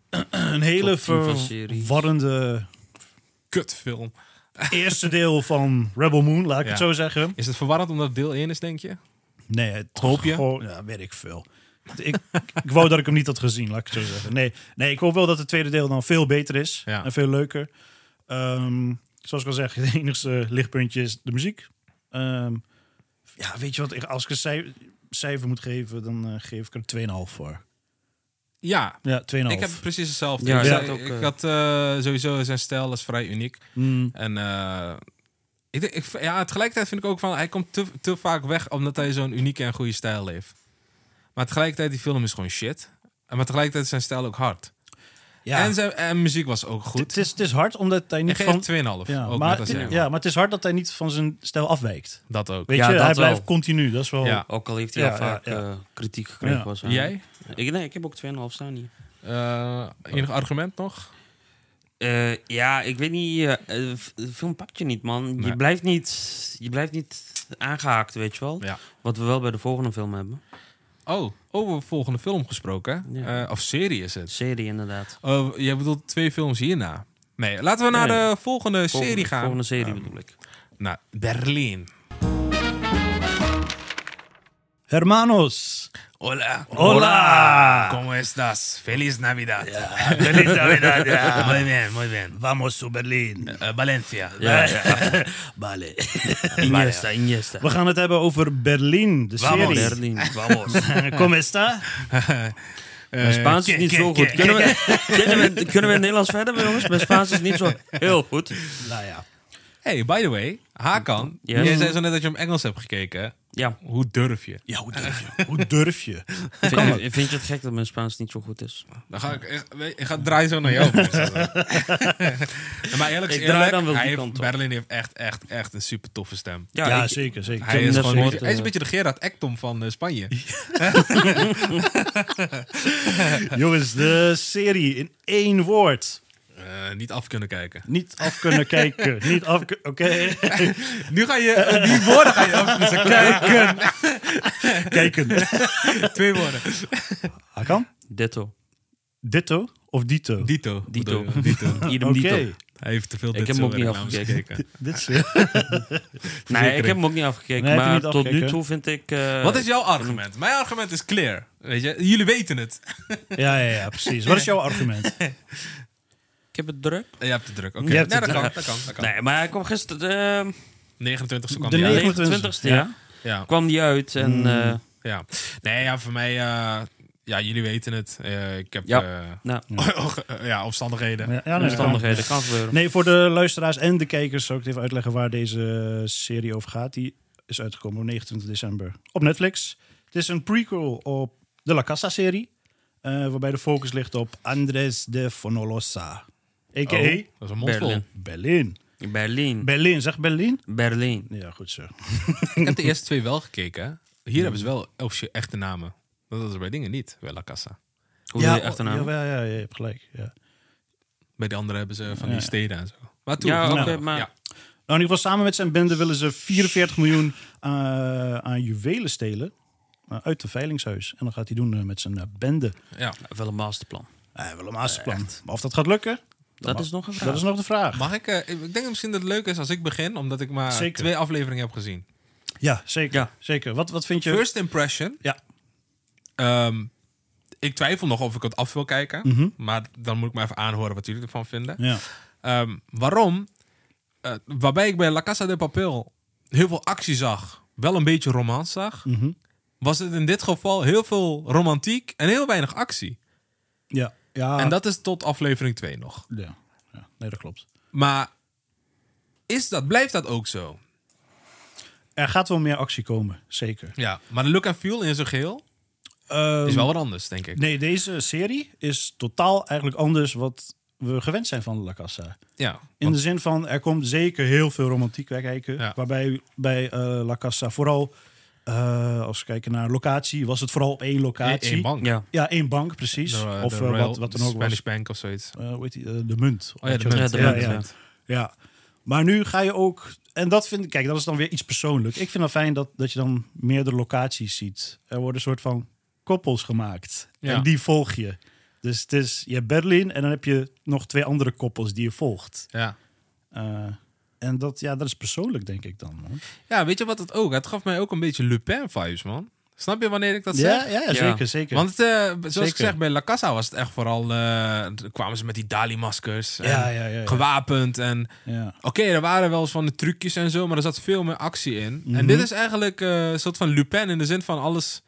C: Een hele
B: Top 10 van series.
C: verwarrende
A: Kutfilm.
C: eerste deel van Rebel Moon, laat ik
A: Ja.
C: het zo zeggen.
A: Is het verwarrend omdat het deel 1 is, denk je?
C: Nee, het
A: Hoop je?
C: gewoon- Ja, weet ik veel. Ik, ik wou dat ik hem niet had gezien, laat ik het zo zeggen. Nee, nee ik hoop wel dat het tweede deel dan veel beter is
A: Ja.
C: en veel leuker. Ehm, zoals ik al zeg, het enigste lichtpuntje is de muziek. Ehm, ja, weet je wat, ik- als ik een cij- cijfer moet geven, dan eh, geef ik er 2,5 voor.
A: Ja.
C: Ja, 2,5.
A: Ik heb precies hetzelfde.
B: Ja,
A: ik,
C: ja.
A: zei-
B: ook, eh.
A: ik had eh, sowieso zijn stijl is vrij uniek.
C: Mm,
A: En eh, ik, denk- ik, ja, tegelijkertijd vind ik ook van hij komt te, te vaak weg omdat hij zo'n unieke en goede stijl heeft. Maar tegelijkertijd, die film is gewoon shit. En Maar tegelijkertijd is zijn stijl ook hard.
C: ja.
A: En, zijn, en muziek was ook
C: Het
A: goed.
C: is, het is hard omdat hij
A: Ik
C: niet van...
A: geef 2,5.
C: Ja,
A: ook net
C: maar,
A: als jij.
C: ja, maar het is hard dat hij niet van zijn stijl afwijkt.
A: Dat ook.
C: Weet
B: Ja,
C: je,
B: dat
C: hij blijft
B: wel.
C: continu. Dat is wel...
A: Ja.
B: Ook al heeft hij
C: Ja,
B: al
C: ja,
B: vaak
C: ja.
B: eh, kritiek gekregen.
C: Ja.
B: Was hij.
A: Jij?
B: Ik, nee, ik heb ook 2,5 staan hier.
A: Eh, enig argument nog?
B: Eh, ja, ik weet niet. eh, eh, f- de film pakt je niet, man.
A: Nee.
B: Je, blijft niet, je blijft niet aangehaakt, weet je wel.
A: Ja.
B: Wat we wel bij de volgende film hebben.
A: Oh, over de volgende film gesproken.
B: Ja.
A: Eh, of serie is het.
B: Serie, inderdaad.
A: Oh, jij bedoelt twee films hierna. Nee, laten we naar
B: Nee.
A: de volgende, serie gaan.
B: Volgende serie bedoel ik.
A: Naar Berlin.
C: Hermanos.
A: Hola.
C: Hola.
A: ¿Cómo estás? Feliz Navidad.
C: Feliz Navidad.
A: Muy bien, muy bien.
C: Vamos to Berlin.
A: Eh, Valencia.
B: Ja,
C: Vale.
B: Iniesta, Iniesta.
C: We gaan het hebben over Berlin, de
A: Vamos.
C: serie.
B: Berlin.
C: Vamos. Kom esta?
B: Mijn Spaans is
C: Eh,
B: niet
C: ke-
B: zo
C: ke-
B: goed. Kunnen we, kunnen, we, kunnen we in het Nederlands verder, jongens? Mijn Spaans is niet zo heel goed.
C: Nou ja.
A: Hey, by the way, Hakan,
B: Yes.
A: jij zei zo net dat je hem Engels hebt gekeken.
B: Ja,
A: Hoe durf je?
C: Ja, hoe durf je? hoe durf je?
B: vind, vind je het gek dat mijn Spaans niet zo goed is?
A: Dan ga ik, ik- weet- ik ga draaien zo naar jou. maar eerlijk is
B: Ik draai
A: eerlijk,
B: dan wel die
A: hij heeft,
B: kant op.
A: Berlin heeft echt, echt, echt een super toffe stem.
C: Ja,
B: ik-
C: zeker, zeker.
A: Hij is,
B: net
A: gewoon,
B: gehoord,
A: hij is een
B: eh.
A: beetje de Gerard Ektom van eh, Spanje.
C: Jongens, de serie in één woord.
A: Eh, niet af kunnen kijken.
C: Niet af kunnen kijken. Niet af kun- Oké.
A: Nu ga je, eh, die woorden ga je af moeten kijken.
C: Kijken.
A: Twee woorden.
C: Hakan?
B: Ditto.
C: Ditto of dito?
A: Dito.
B: Dito.
A: bedoel je? Dito.
B: Idem
C: Oké.
B: dito.
A: Hij heeft te veel
B: Ik heb hem ook niet afgekeken.
C: Dit is...
B: Nee, ik heb hem ook niet afgekeken.
C: Nee, heb je
B: maar
C: niet
B: tot
C: afgekeken?
B: nu toe vind ik... eh,
A: Wat is jouw argument? Mijn argument is clear. Weet je, jullie weten het.
C: Ja, ja, ja, precies. Wat is jouw argument?
B: Ik heb het druk.
A: Je hebt het druk. Oké,
C: Je hebt
A: Nee,
C: het
A: dat, kan,
B: druk.
A: dat kan. Dat kan.
B: Nee, maar hij kwam gisteren...
A: 29
C: De
A: seconden.
B: eh
A: Ja.
C: negen-
B: 29 e ja.
A: Ja.
B: Kwam die uit en...
C: Hmm.
B: eh,
A: ja. Nee, ja, voor mij... eh, ja, jullie weten het. Eh, ik heb...
B: Ja.
A: eh,
B: nou,
A: ja, omstandigheden.
C: Ja, ja, nee,
B: omstandigheden kan gebeuren.
C: Nee, voor de luisteraars en de kijkers zal ik het even uitleggen waar deze serie over gaat. Die is uitgekomen op 29 december op Netflix. Het is een prequel op de La Casa-serie, eh, waarbij de focus ligt op Andres de Fonolosa, a.k.a.
A: Oh, dat is een mondvol.
B: Berlin.
C: Berlin.
B: Berlin.
C: Berlin, zeg Berlin?
B: Berlin.
C: Ja, goed zo.
A: Ik heb de eerste twee wel gekeken. hè. Hier hebben
B: Mm.
A: ze wel officieel echte namen. Dat is bij dingen niet, bij La Casa.
B: Hoe
C: ja,
B: doe je achternaam?
C: Ja, ja, ja, je hebt gelijk. Ja.
A: Bij de andere hebben ze van die
C: Ja.
A: steden en zo. Maar toen,
B: Ja, oké,
A: nou,
B: maar...
A: ja.
C: Nou, in ieder geval samen met zijn bende willen ze 44 miljoen eh, aan juwelen stelen eh, uit de veilingshuis. En dat gaat hij doen eh, met zijn eh, bende.
A: ja.
B: Wel een masterplan.
C: Hij wil een masterplan. maar of dat gaat lukken,
B: Dat is nog een vraag.
C: dat is nog de vraag.
A: Mag ik? eh, ik denk dat misschien dat het leuk is als ik begin, omdat ik maar
C: Zeker.
A: twee afleveringen heb gezien.
C: Ja, zeker.
B: Ja.
C: zeker. Wat, wat vind je?
A: First impression.
C: Ja.
A: Ehm, ik twijfel nog of ik het af wil kijken,
C: Mhm.
A: maar dan moet ik maar even aanhoren wat jullie ervan vinden.
C: Ja.
A: Ehm, waarom? Eh, waarbij ik bij La Casa de Papel heel veel actie zag, wel een beetje romance zag,
C: Mhm.
A: was het in dit geval heel veel romantiek en heel weinig actie.
C: Ja. ja.
A: En dat is tot aflevering 2 nog.
C: Ja. ja. Nee, dat klopt.
A: Maar is dat, blijft dat ook zo?
C: Er gaat wel meer actie komen, zeker.
A: Ja. Maar de look en feel in zijn geheel
C: Ehm,
A: is wel wat anders, denk ik.
C: Nee, deze serie is totaal eigenlijk anders wat we gewend zijn van La Casa.
A: Ja.
C: In de zin van, er komt zeker heel veel romantiek bij kijken.
A: Ja.
C: Waarbij bij eh, La Casa vooral, eh, als we kijken naar locatie, was het vooral op één locatie.
A: één bank.
B: Ja.
C: Ja, één bank, precies.
A: De, eh,
C: of
A: de
C: eh,
A: Royal
C: wat, wat dan ook
A: Spanish
C: was.
A: Bank of zoiets.
C: Eh, hoe heet die? Eh, de munt.
A: Oh ja, de
C: Weet je
A: munt.
C: wat?
B: Ja, de
C: ja,
B: munt,
C: ja. Ja. Maar nu ga je ook... En dat vind ik... Kijk, dat is dan weer iets persoonlijk. Ik vind het fijn dat, dat je dan meerdere locaties ziet. Er worden een soort van koppels gemaakt.
A: Ja.
C: En die volg je. Dus het is... Je hebt Berlin en dan heb je nog twee andere koppels die je volgt.
A: Ja.
C: Eh, en dat, ja, dat is persoonlijk, denk ik dan. Man.
A: ja, weet je wat het ook? Het gaf mij ook een beetje Lupin-vibes, man. Snap je wanneer ik dat
C: Ja,
A: zeg?
C: ja, zeker, zeker.
A: Want eh, zoals ik
C: Zeker.
A: zeg, bij La Casa was het echt vooral... eh, d- kwamen ze met die Dali-maskers. en
C: Ja, ja, ja, ja.
A: Gewapend en...
C: ja.
A: Oké, er waren wel eens van de trucjes en zo, maar er zat veel meer actie in.
C: Mhm.
A: En dit is eigenlijk eh, een soort van Lupin in de zin van alles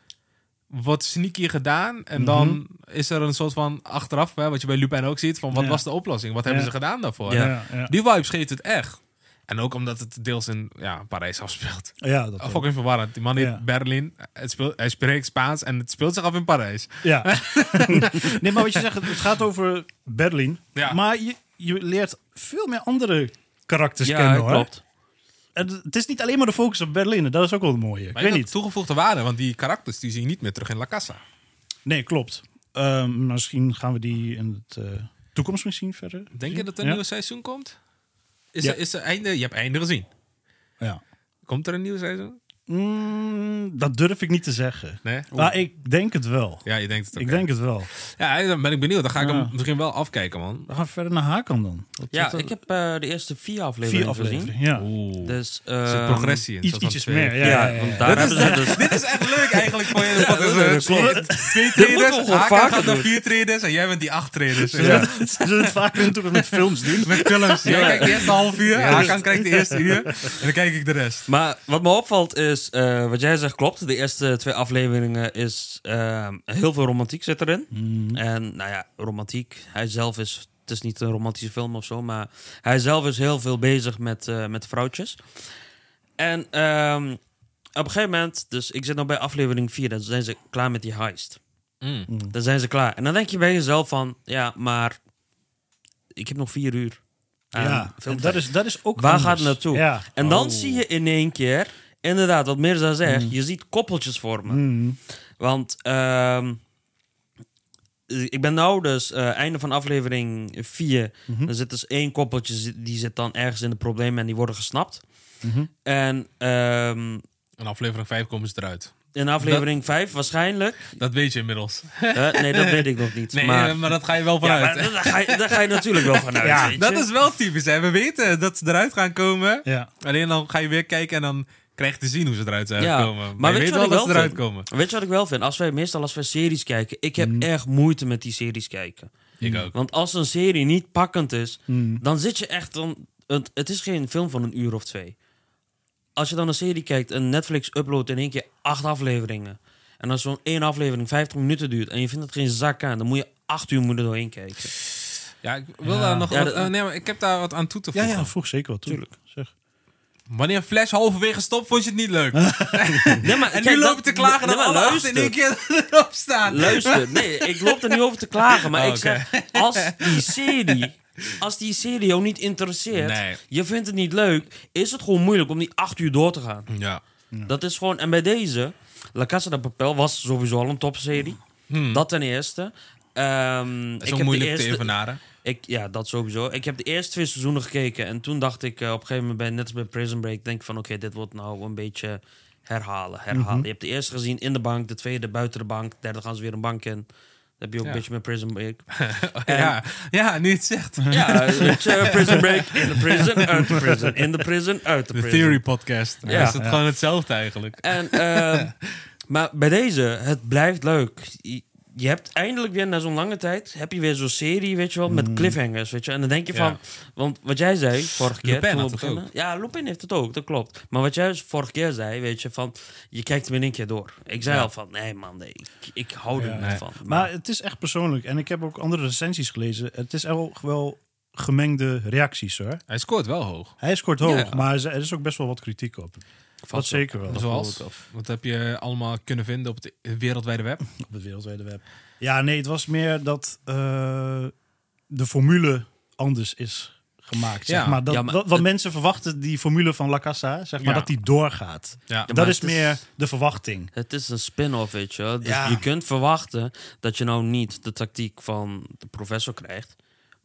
A: wordt sneaky gedaan. En dan is er een soort van achteraf, hè, wat je bij Lupin ook ziet, van wat
C: Mhm. Ja.
A: was de oplossing? Wat hebben
C: Ja.
A: ze gedaan daarvoor?
B: Ja.
C: Ja, ja.
A: Die vibes geeft het echt. En ook omdat het deels in ja, Parijs afspeelt.
C: Ja, dat
A: Oh, fucking verwarrend. Die man in
C: Ja.
A: Berlin, het speelt, hij spreekt Spaans en het speelt zich af in Parijs.
C: Ja. nee, maar wat je zegt, het gaat over Berlin.
A: Ja.
C: Maar je, je leert veel meer andere karakters
B: Ja,
C: kennen, hoor.
B: klopt.
C: En het is niet alleen maar de focus op Berlin. Dat is ook wel het mooie.
A: Maar
C: ik weet
A: dat
C: niet.
A: toegevoegde waarde, want die karakters die zie je niet meer terug in La Casa.
C: Nee, klopt. Ehm, misschien gaan we die in het eh, toekomst misschien verder.
A: Denk je dat er een
C: Ja.
A: nieuw seizoen komt? Is,
C: Ja.
A: er, is er einde? Je hebt einde gezien.
C: Ja.
A: Komt er een nieuw seizoen?
C: Mm, dat durf ik niet te zeggen.
A: Nee?
C: Maar ik denk het wel.
A: Ja, je denkt het ook.
C: Ik
A: hè?
C: denk het wel.
A: Ja, dan ben ik benieuwd. Dan ga ik
C: Ja.
A: hem misschien wel afkijken, man.
C: We gaan verder naar Hakan dan. Wat-
B: Ja,
C: wat-
B: ik heb eh, de eerste vier
C: vier
B: afleveringen gezien.
C: afleveringen. Ja.
A: Oeh. Er
B: Dus, eh,
A: zit progressie in.
C: Iets,
A: Soort van
C: ietsjes
A: twee-
C: meer. Ja,
B: Ja,
C: ja, ja,
B: want
C: ja.
B: daar hebben ze dus...
A: Dit is echt leuk eigenlijk voor je. Dat is, eh, Twee
B: moeten we
A: traders,
B: gewoon
A: Hakan
B: vaker
A: gaat naar
B: doen.
A: vier traders en jij bent die acht traders.
C: Zullen Dus we dat- zullen we het vaker doen toen we met films doen?
A: Met films. Jij kijkt de eerste half uur, Hakan kijkt de eerste uur en dan kijk ik de rest.
B: Maar wat me opvalt is, eh, wat jij zegt klopt. De eerste twee afleveringen is ehm, heel veel romantiek zit erin.
C: Mhm.
B: En nou ja, romantiek. Hij zelf is, het is niet een romantische film of zo, maar hij zelf is heel veel bezig met, eh, met vrouwtjes. En ehm, op een gegeven moment, dus ik zit nog bij aflevering 4, dan zijn ze klaar met die heist.
A: Mm,
B: Dan zijn ze klaar. En dan denk je bij jezelf van, ja, maar ik heb nog vier uur. aan
C: Ja, en
B: filmtijd.
C: dat is, dat is ook
B: Ah, Waar
C: anders.
B: gaat het naartoe?
C: Ja.
B: En
A: Oh.
B: dan zie je in één keer, inderdaad, wat Mirza zegt,
A: Mm.
B: je ziet koppeltjes vormen.
C: Mm.
B: Want ehm, ik ben nou dus, eh, einde van aflevering 4,
A: Mhm.
B: er zit dus één koppeltje, zi- die zit dan ergens in de problemen en die worden gesnapt.
A: Mhm.
B: En ehm,
A: En aflevering 5 komen ze eruit.
B: in aflevering 5 waarschijnlijk,
A: Dat weet je inmiddels.
B: eh, nee, dat weet ik nog niet.
A: Nee, eh,
B: maar,
A: maar, dat ga je wel
B: ja,
A: vanuit.
B: maar daar, ga je, daar ga je natuurlijk wel vanuit.
C: Ja,
B: weet
A: dat
B: je.
A: is wel typisch. Hè? We weten dat ze eruit gaan komen.
C: Ja.
A: Alleen dan ga je weer kijken en dan krijg je te zien hoe ze eruit zijn
B: Ja,
A: gekomen. Maar,
B: maar
A: je
B: weet
A: weet
B: je
A: wel
B: wat
A: dat
B: ik
A: ze
B: wel
A: eruit
B: vind?
A: komen.
B: Weet je wat ik wel vind? Als wij, meestal als wij series kijken, ik
A: Mhm.
B: heb echt moeite met die series kijken.
A: Ik ook.
B: Want als een serie niet pakkend is,
A: Mm.
B: dan zit je echt... Dan, het, het is geen film van een uur of twee. Als je dan een serie kijkt en Netflix uploadt in één keer acht afleveringen... en als zo'n één aflevering 50 minuten duurt en je vindt het geen zak aan... dan moet je acht uur moeten doorheen kijken.
A: Ja, ik wil daar nog
B: Ja,
A: wat,
B: dat-
A: eh, nee, maar ik heb daar wat aan toe te
C: Ja,
A: voegen.
C: ja, vroeg zeker wel. Tuurlijk. Zeg.
A: Wanneer Flash halverwege stopt, vond je het niet leuk. en
B: Nee, maar,
A: nu
B: kijk,
A: loop je
B: dat-
A: te klagen
B: nee,
A: dat
B: maar
A: alle acht in
B: luister.
A: één keer erop staan.
B: Luister, nee, ik loop er niet over te klagen, maar
A: Oh,
B: ik zeg, als die serie, als die serie jou niet interesseert,
A: Nee.
B: je vindt het niet leuk, is het gewoon moeilijk om die acht uur door te gaan.
A: Ja.
B: Hm. Dat is gewoon, en bij deze, La Casa de Papel was sowieso al een topserie. Dat ten eerste. Ehm,
A: Dat
B: ik
A: Hm. is
B: heb
A: ook
B: de
A: moeilijk te
B: eerste-
A: evenaren.
B: ik, ja, dat sowieso. Ik heb de eerste twee seizoenen gekeken. En toen dacht ik eh, op een gegeven moment, bij, net als bij Prison Break, denk ik van oké, dit wordt nou een beetje herhalen, herhalen. Je hebt de eerste gezien in de bank, de tweede buiten de bank, de derde gaan ze weer een bank in. Dat heb je ook
A: Ja.
B: een beetje met Prison Break.
A: Ja. ja, nu je het zegt.
B: ja, weet je, eh, Prison Break, in de prison, uit de prison, in de prison, uit de
A: De
B: prison.
A: Theory Podcast. Ja.
B: Ja.
A: Is het gewoon hetzelfde eigenlijk.
B: En, ehm, maar bij deze, het blijft leuk. Je- Je hebt eindelijk weer na zo'n lange tijd, heb je weer zo'n serie, weet je wel, met cliffhangers, weet je. En dan denk je
A: Mm. Ja.
B: van, want wat jij zei vorige keer,
A: Lupin
B: toen we
A: had het
B: begonnen. Ja, Lupin heeft het ook, dat klopt. Maar wat jij dus vorige keer zei, weet je, van, je kijkt hem in één keer door. Ik zei al van, nee man, nee, ik, ik hou er
C: Ja.
B: niet
A: Nee.
B: van.
C: Maar het is echt persoonlijk. En ik heb ook andere recensies gelezen. Het is wel, wel gemengde reacties hoor.
A: Hij scoort wel hoog.
C: Hij scoort hoog,
B: Ja.
C: maar er is ook best wel wat kritiek op. dat zeker wel.
A: Zoals? Wat heb je allemaal kunnen vinden op het wereldwijde web?
C: Op het wereldwijde web. Ja, nee, het was meer dat eh, de formule anders is gemaakt. Zeg
A: Ja.
C: maar. Dat,
B: Ja, maar
C: wat, wat mensen verwachten, die formule van La Casa, zeg maar,
A: Ja.
C: dat die doorgaat.
A: Ja.
B: maar
C: dat is
B: het is-
C: meer de verwachting.
B: Het is een spin-off, weet je. wel. Dus
C: Ja.
B: je kunt verwachten dat je nou niet de tactiek van de professor krijgt,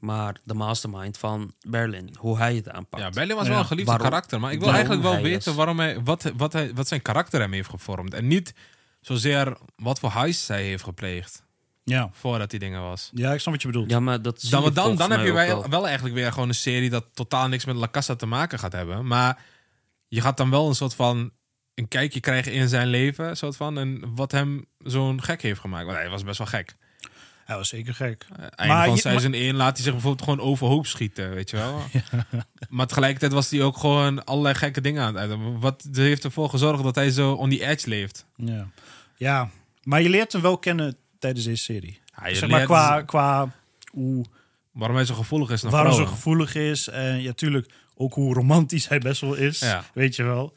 B: maar de mastermind van Berlin, hoe hij het aanpakt.
A: Ja, Berlin was wel een geliefde
B: Waarom-
A: karakter. Maar ik wil
B: waarom
A: eigenlijk wel
B: hij
A: weten
B: is.
A: waarom hij, wat, wat, hij, wat zijn karakter hem heeft gevormd. En niet zozeer wat voor heist hij heeft gepleegd
C: Ja.
A: voordat die dingen was.
C: ja, ik snap wat je bedoelt.
B: Ja, maar dat zie
A: Dan,
B: je
A: want dan,
B: volgens
A: dan heb
B: mij
A: je
B: ook
A: wel,
B: wel.
A: wel eigenlijk weer gewoon een serie dat totaal niks met La Casa te maken gaat hebben. Maar je gaat dan wel een soort van een kijkje krijgen in zijn leven. Soort van, en wat hem zo'n gek heeft gemaakt. Want hij was best wel gek.
C: Hij was zeker gek.
A: Eh, Einde
C: Maar
A: van
C: je-
A: seizoen 1 laat hij zich bijvoorbeeld gewoon overhoop schieten, weet je wel. Maar tegelijkertijd was hij ook gewoon allerlei gekke dingen aan het uiten. Wat heeft ervoor gezorgd dat hij zo on the edge leeft?
C: Ja. ja, maar je leert hem wel kennen tijdens deze serie.
A: Hij
C: zeg maar
A: leert-
C: qua, qua hoe,
A: Waarom hij zo gevoelig is naar
C: waarom ze
A: vrouwen.
C: gevoelig is. En ja, tuurlijk ook hoe romantisch hij best wel is.
A: Ja.
C: Weet je wel.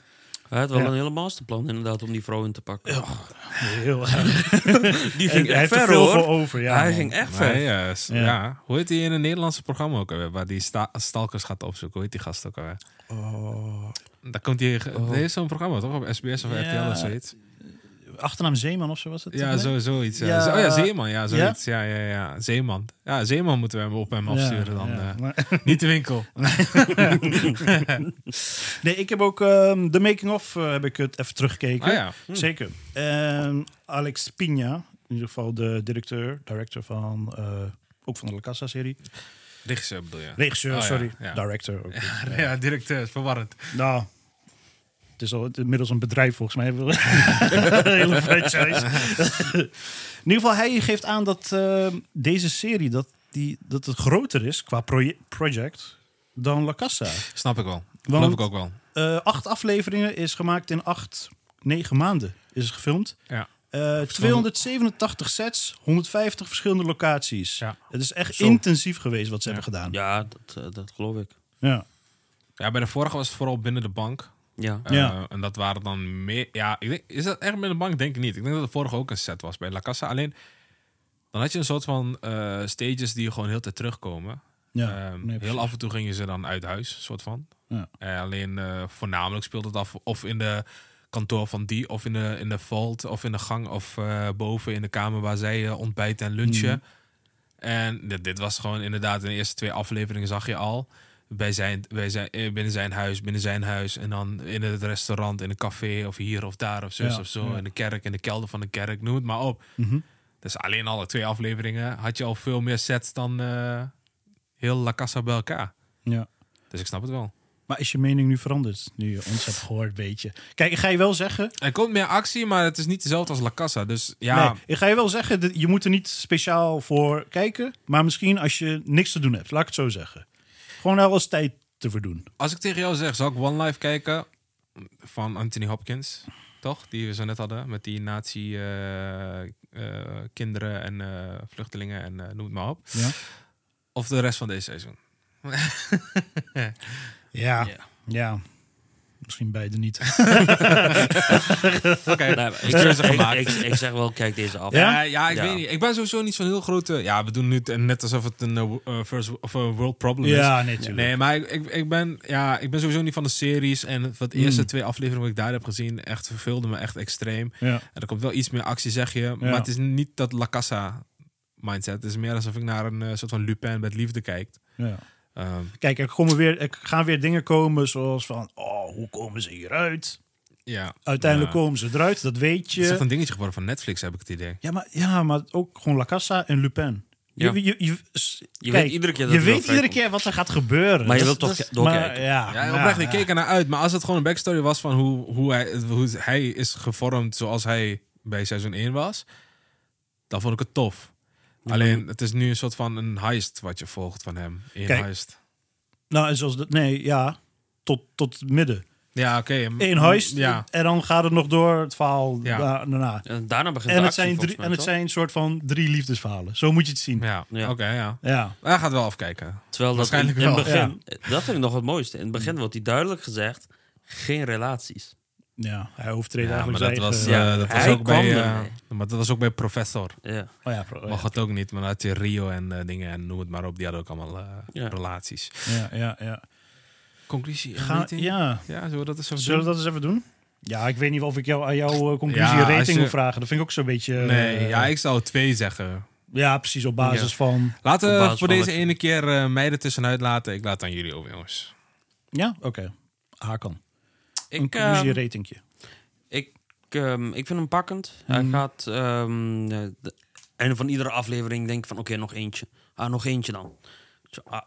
B: Hij had wel
C: Ja.
B: een hele masterplan inderdaad om die vrouw in te pakken.
C: Heel erg.
B: Die
C: En
B: ging
C: hij
B: echt
C: heeft er
B: ver
C: veel
B: hoor.
C: voor over. Ja,
B: hij
C: man.
B: ging echt ver.
A: Nee, ja, s-
C: Ja.
A: ja. Hoe heet hij in een Nederlandse programma ook alweer? Waar die sta stalkers gaat opzoeken. Hoe heet die gast ook alweer?
C: Oh,
A: Daar komt hij... Er is zo'n programma toch? Op SBS of
C: Ja.
A: RTL of zoiets.
C: achternaam Zeeman of zo was het?
A: Ja, zo, zoiets. Ja.
C: Ja,
A: Zo- oh ja,
C: eh,
A: Zeeman. Ja, zoiets. Ja, ja, ja. Zeeman. Ja, Zeeman moeten we hem op hem afsturen dan. eh, niet de winkel.
C: nee, ik heb ook ehm, de making-of eh, heb ik het even teruggekeken.
A: Ah ja.
C: Zeker. En Alex Pina, in ieder geval de directeur, director van, eh, ook van de La Casa-serie.
A: Regisseur bedoel je?
C: Regisseur,
A: Oh ja,
C: sorry.
A: ja.
C: Director ook.
A: Ja, ja, directeur. is Verwarrend.
C: Nou, het is al inmiddels een bedrijf volgens mij. Hele franchise. in ieder geval, hij geeft aan dat ehm, deze serie dat, die, dat het groter is qua proje- project dan La Casa.
A: Snap ik wel.
C: Want-
A: Geloof ik ook wel.
C: Eh, acht afleveringen is gemaakt in acht, negen maanden is het gefilmd.
A: Ja.
C: Eh, 287 sets, 150 verschillende locaties.
A: Ja.
C: Het is echt
B: Zo.
C: intensief geweest wat ze hebben gedaan.
B: Ja, dat, eh, dat geloof ik.
C: Ja.
A: ja, bij de vorige was het vooral binnen de bank.
B: Ja.
A: Eh,
C: Ja.
A: En dat waren dan meer... Ja, ik denk, is dat echt binnen de bank? Denk ik niet. Ik denk dat de vorige ook een set was bij La Casa. Alleen, dan had je een soort van eh, stages die gewoon heel tijd terugkomen.
C: Ja,
A: Ehm,
C: nee, precies.
A: heel af en toe gingen ze dan uit huis, soort van.
C: Ja.
A: Eh, alleen eh, voornamelijk speelde het af of in de kantoor van die, of in de, in de vault, of in de gang, of eh, boven in de kamer waar zij eh, ontbijten en
C: Mhm.
A: lunchen. En dit, dit was gewoon inderdaad, in de eerste twee afleveringen zag je al. Bij zijn, bij zijn, eh, binnen zijn huis, binnen zijn huis. En dan in het restaurant, in een café, of hier of daar, of zus
C: Ja,
A: of zo.
C: ja.
A: In de kerk, in de kelder van de kerk, noem het maar op.
C: Mhm.
A: Dus alleen alle twee afleveringen had je al veel meer sets dan eh, heel La Casa bij elkaar.
C: ja.
A: Dus ik snap het wel.
C: Maar is je mening nu veranderd? Nu je ons hebt gehoord, beetje. Kijk, ik ga je wel zeggen.
A: Er komt meer actie, maar het is niet dezelfde als La Casa. Dus ja,
C: Nee, ik ga je wel zeggen, dat je moet er niet speciaal voor kijken. Maar misschien als je niks te doen hebt, laat ik het zo zeggen. Gewoon nou wel eens tijd te verdoen.
A: als ik tegen jou zeg, zal ik One Life kijken van Anthony Hopkins, toch? Die we zo net hadden met die nazi-kinderen en eh, vluchtelingen en eh, noem het maar op.
C: Ja.
A: Of de rest van deze seizoen.
B: Ja.
C: Ja. Ja. Misschien beide niet.
A: Oké, nou,
B: Nee, maar ik,
A: Keuze gemaakt.
B: ik, ik, ik zeg wel, kijk deze af.
A: Ja, Eh, ja ik
B: Ja.
A: weet niet. Ik ben sowieso niet zo'n heel grote... Ja, we doen nu het net alsof het een eh, wo- eh, first wo- of een world problem is.
C: ja, nee, natuurlijk.
A: Nee, maar ik, ik, ik, ben, ja, ik ben sowieso niet van de series. En wat de eerste
C: Hmm.
A: twee afleveringen wat ik daar heb gezien... echt verveelde me echt extreem.
C: Ja.
A: En er komt wel iets meer actie, zeg je. Maar het is niet dat La Casa mindset. Het is meer alsof ik naar een eh, soort van Lupin met liefde kijk.
C: Ja.
A: Ehm,
C: Kijk, er, komen weer, er gaan weer dingen komen zoals van... Oh, hoe komen ze hieruit?
A: ja.
C: Uiteindelijk
A: Ja.
C: komen ze eruit, dat weet
A: Het is echt
C: je.
A: een dingetje geworden van Netflix, heb ik het idee.
C: Ja, maar, ja, maar ook gewoon La Casa en Lupin. Je,
B: Ja.
C: je, je, s-
B: Je
C: kijk,
B: weet iedere keer dat
C: je
B: er wel
C: weet iedere
B: vrijkomt.
C: keer wat er gaat gebeuren.
B: Maar je
C: Dat-
B: wilt toch
C: dat-
B: ke- doorkijken.
C: maar Ja,
A: Ja,
C: ja,
A: oprecht, ik
C: ja.
A: keek er naar uit. Maar als het gewoon een backstory was van hoe, hoe, hij, hoe hij is gevormd zoals hij bij seizoen 1 was, dan vond ik het tof. Alleen, het is nu een soort van een heist wat je volgt van hem. Eén
C: Kijk.
A: heist.
C: Nou, en zoals dat, nee, ja, tot, tot het midden.
A: Ja, oké. m-
C: Eén huis
A: Mm, Ja,
C: en dan gaat het nog door het verhaal
A: Ja.
C: da- daarna.
B: En daarna begint
C: En
B: de
C: het,
B: actie,
C: zijn
B: volgens
C: drie,
B: mij,
C: en het
B: toch?
C: zijn een soort van drie liefdesverhalen. Zo moet je het zien. Ja.
A: ja.
B: Ja.
A: oké, ja. Hij gaat wel afkijken.
B: Terwijl dat in,
A: Waarschijnlijk
B: in
A: wel,
B: het begin, dat vind ik nog het mooiste. In het begin wordt hij duidelijk gezegd, geen relaties.
C: Ja, hij overtreedt
A: Ja, maar
C: eigenlijk
A: dat was,
C: zijn eigen-
B: Ja,
A: eh, dat was
B: hij
A: ook bij,
B: kwam
A: eh,
B: ermee.
A: maar dat was ook bij Professor.
B: Ja.
C: Oh ja, pro-
A: Mag het ook niet, maar dan had je Rio en eh, dingen en noem het maar op. Die hadden ook allemaal eh,
B: Ja.
A: relaties.
C: ja, ja, ja.
A: Conclusie?
C: Ga,
A: rating?
C: ja.
A: ja, zullen we dat eens even
C: Zullen
A: doen?
C: we dat eens even doen? Ja, ik weet niet of ik jou aan jouw eh, conclusie
A: Ja, als
C: rating
A: je-
C: moet vragen. Dat vind ik ook zo'n beetje... eh,
A: Nee, ja, ik zou twee zeggen.
C: ja, precies op basis van...
A: Laten
B: Op
A: we
B: basis
A: voor
B: van
A: deze
B: het-
A: ene keer eh, mij er tussenuit laten. Ik laat het aan jullie over, jongens.
C: Ja, oké. Haar kan. Een
B: Ik, ehm,
C: conclusie ratingje.
B: ik, ehm, ik vind hem pakkend. Hij
A: Mhm.
B: gaat... ehm, eh, de- einde van iedere aflevering denk ik van, oké, nog eentje. Ah, nog eentje dan. Tja, ah.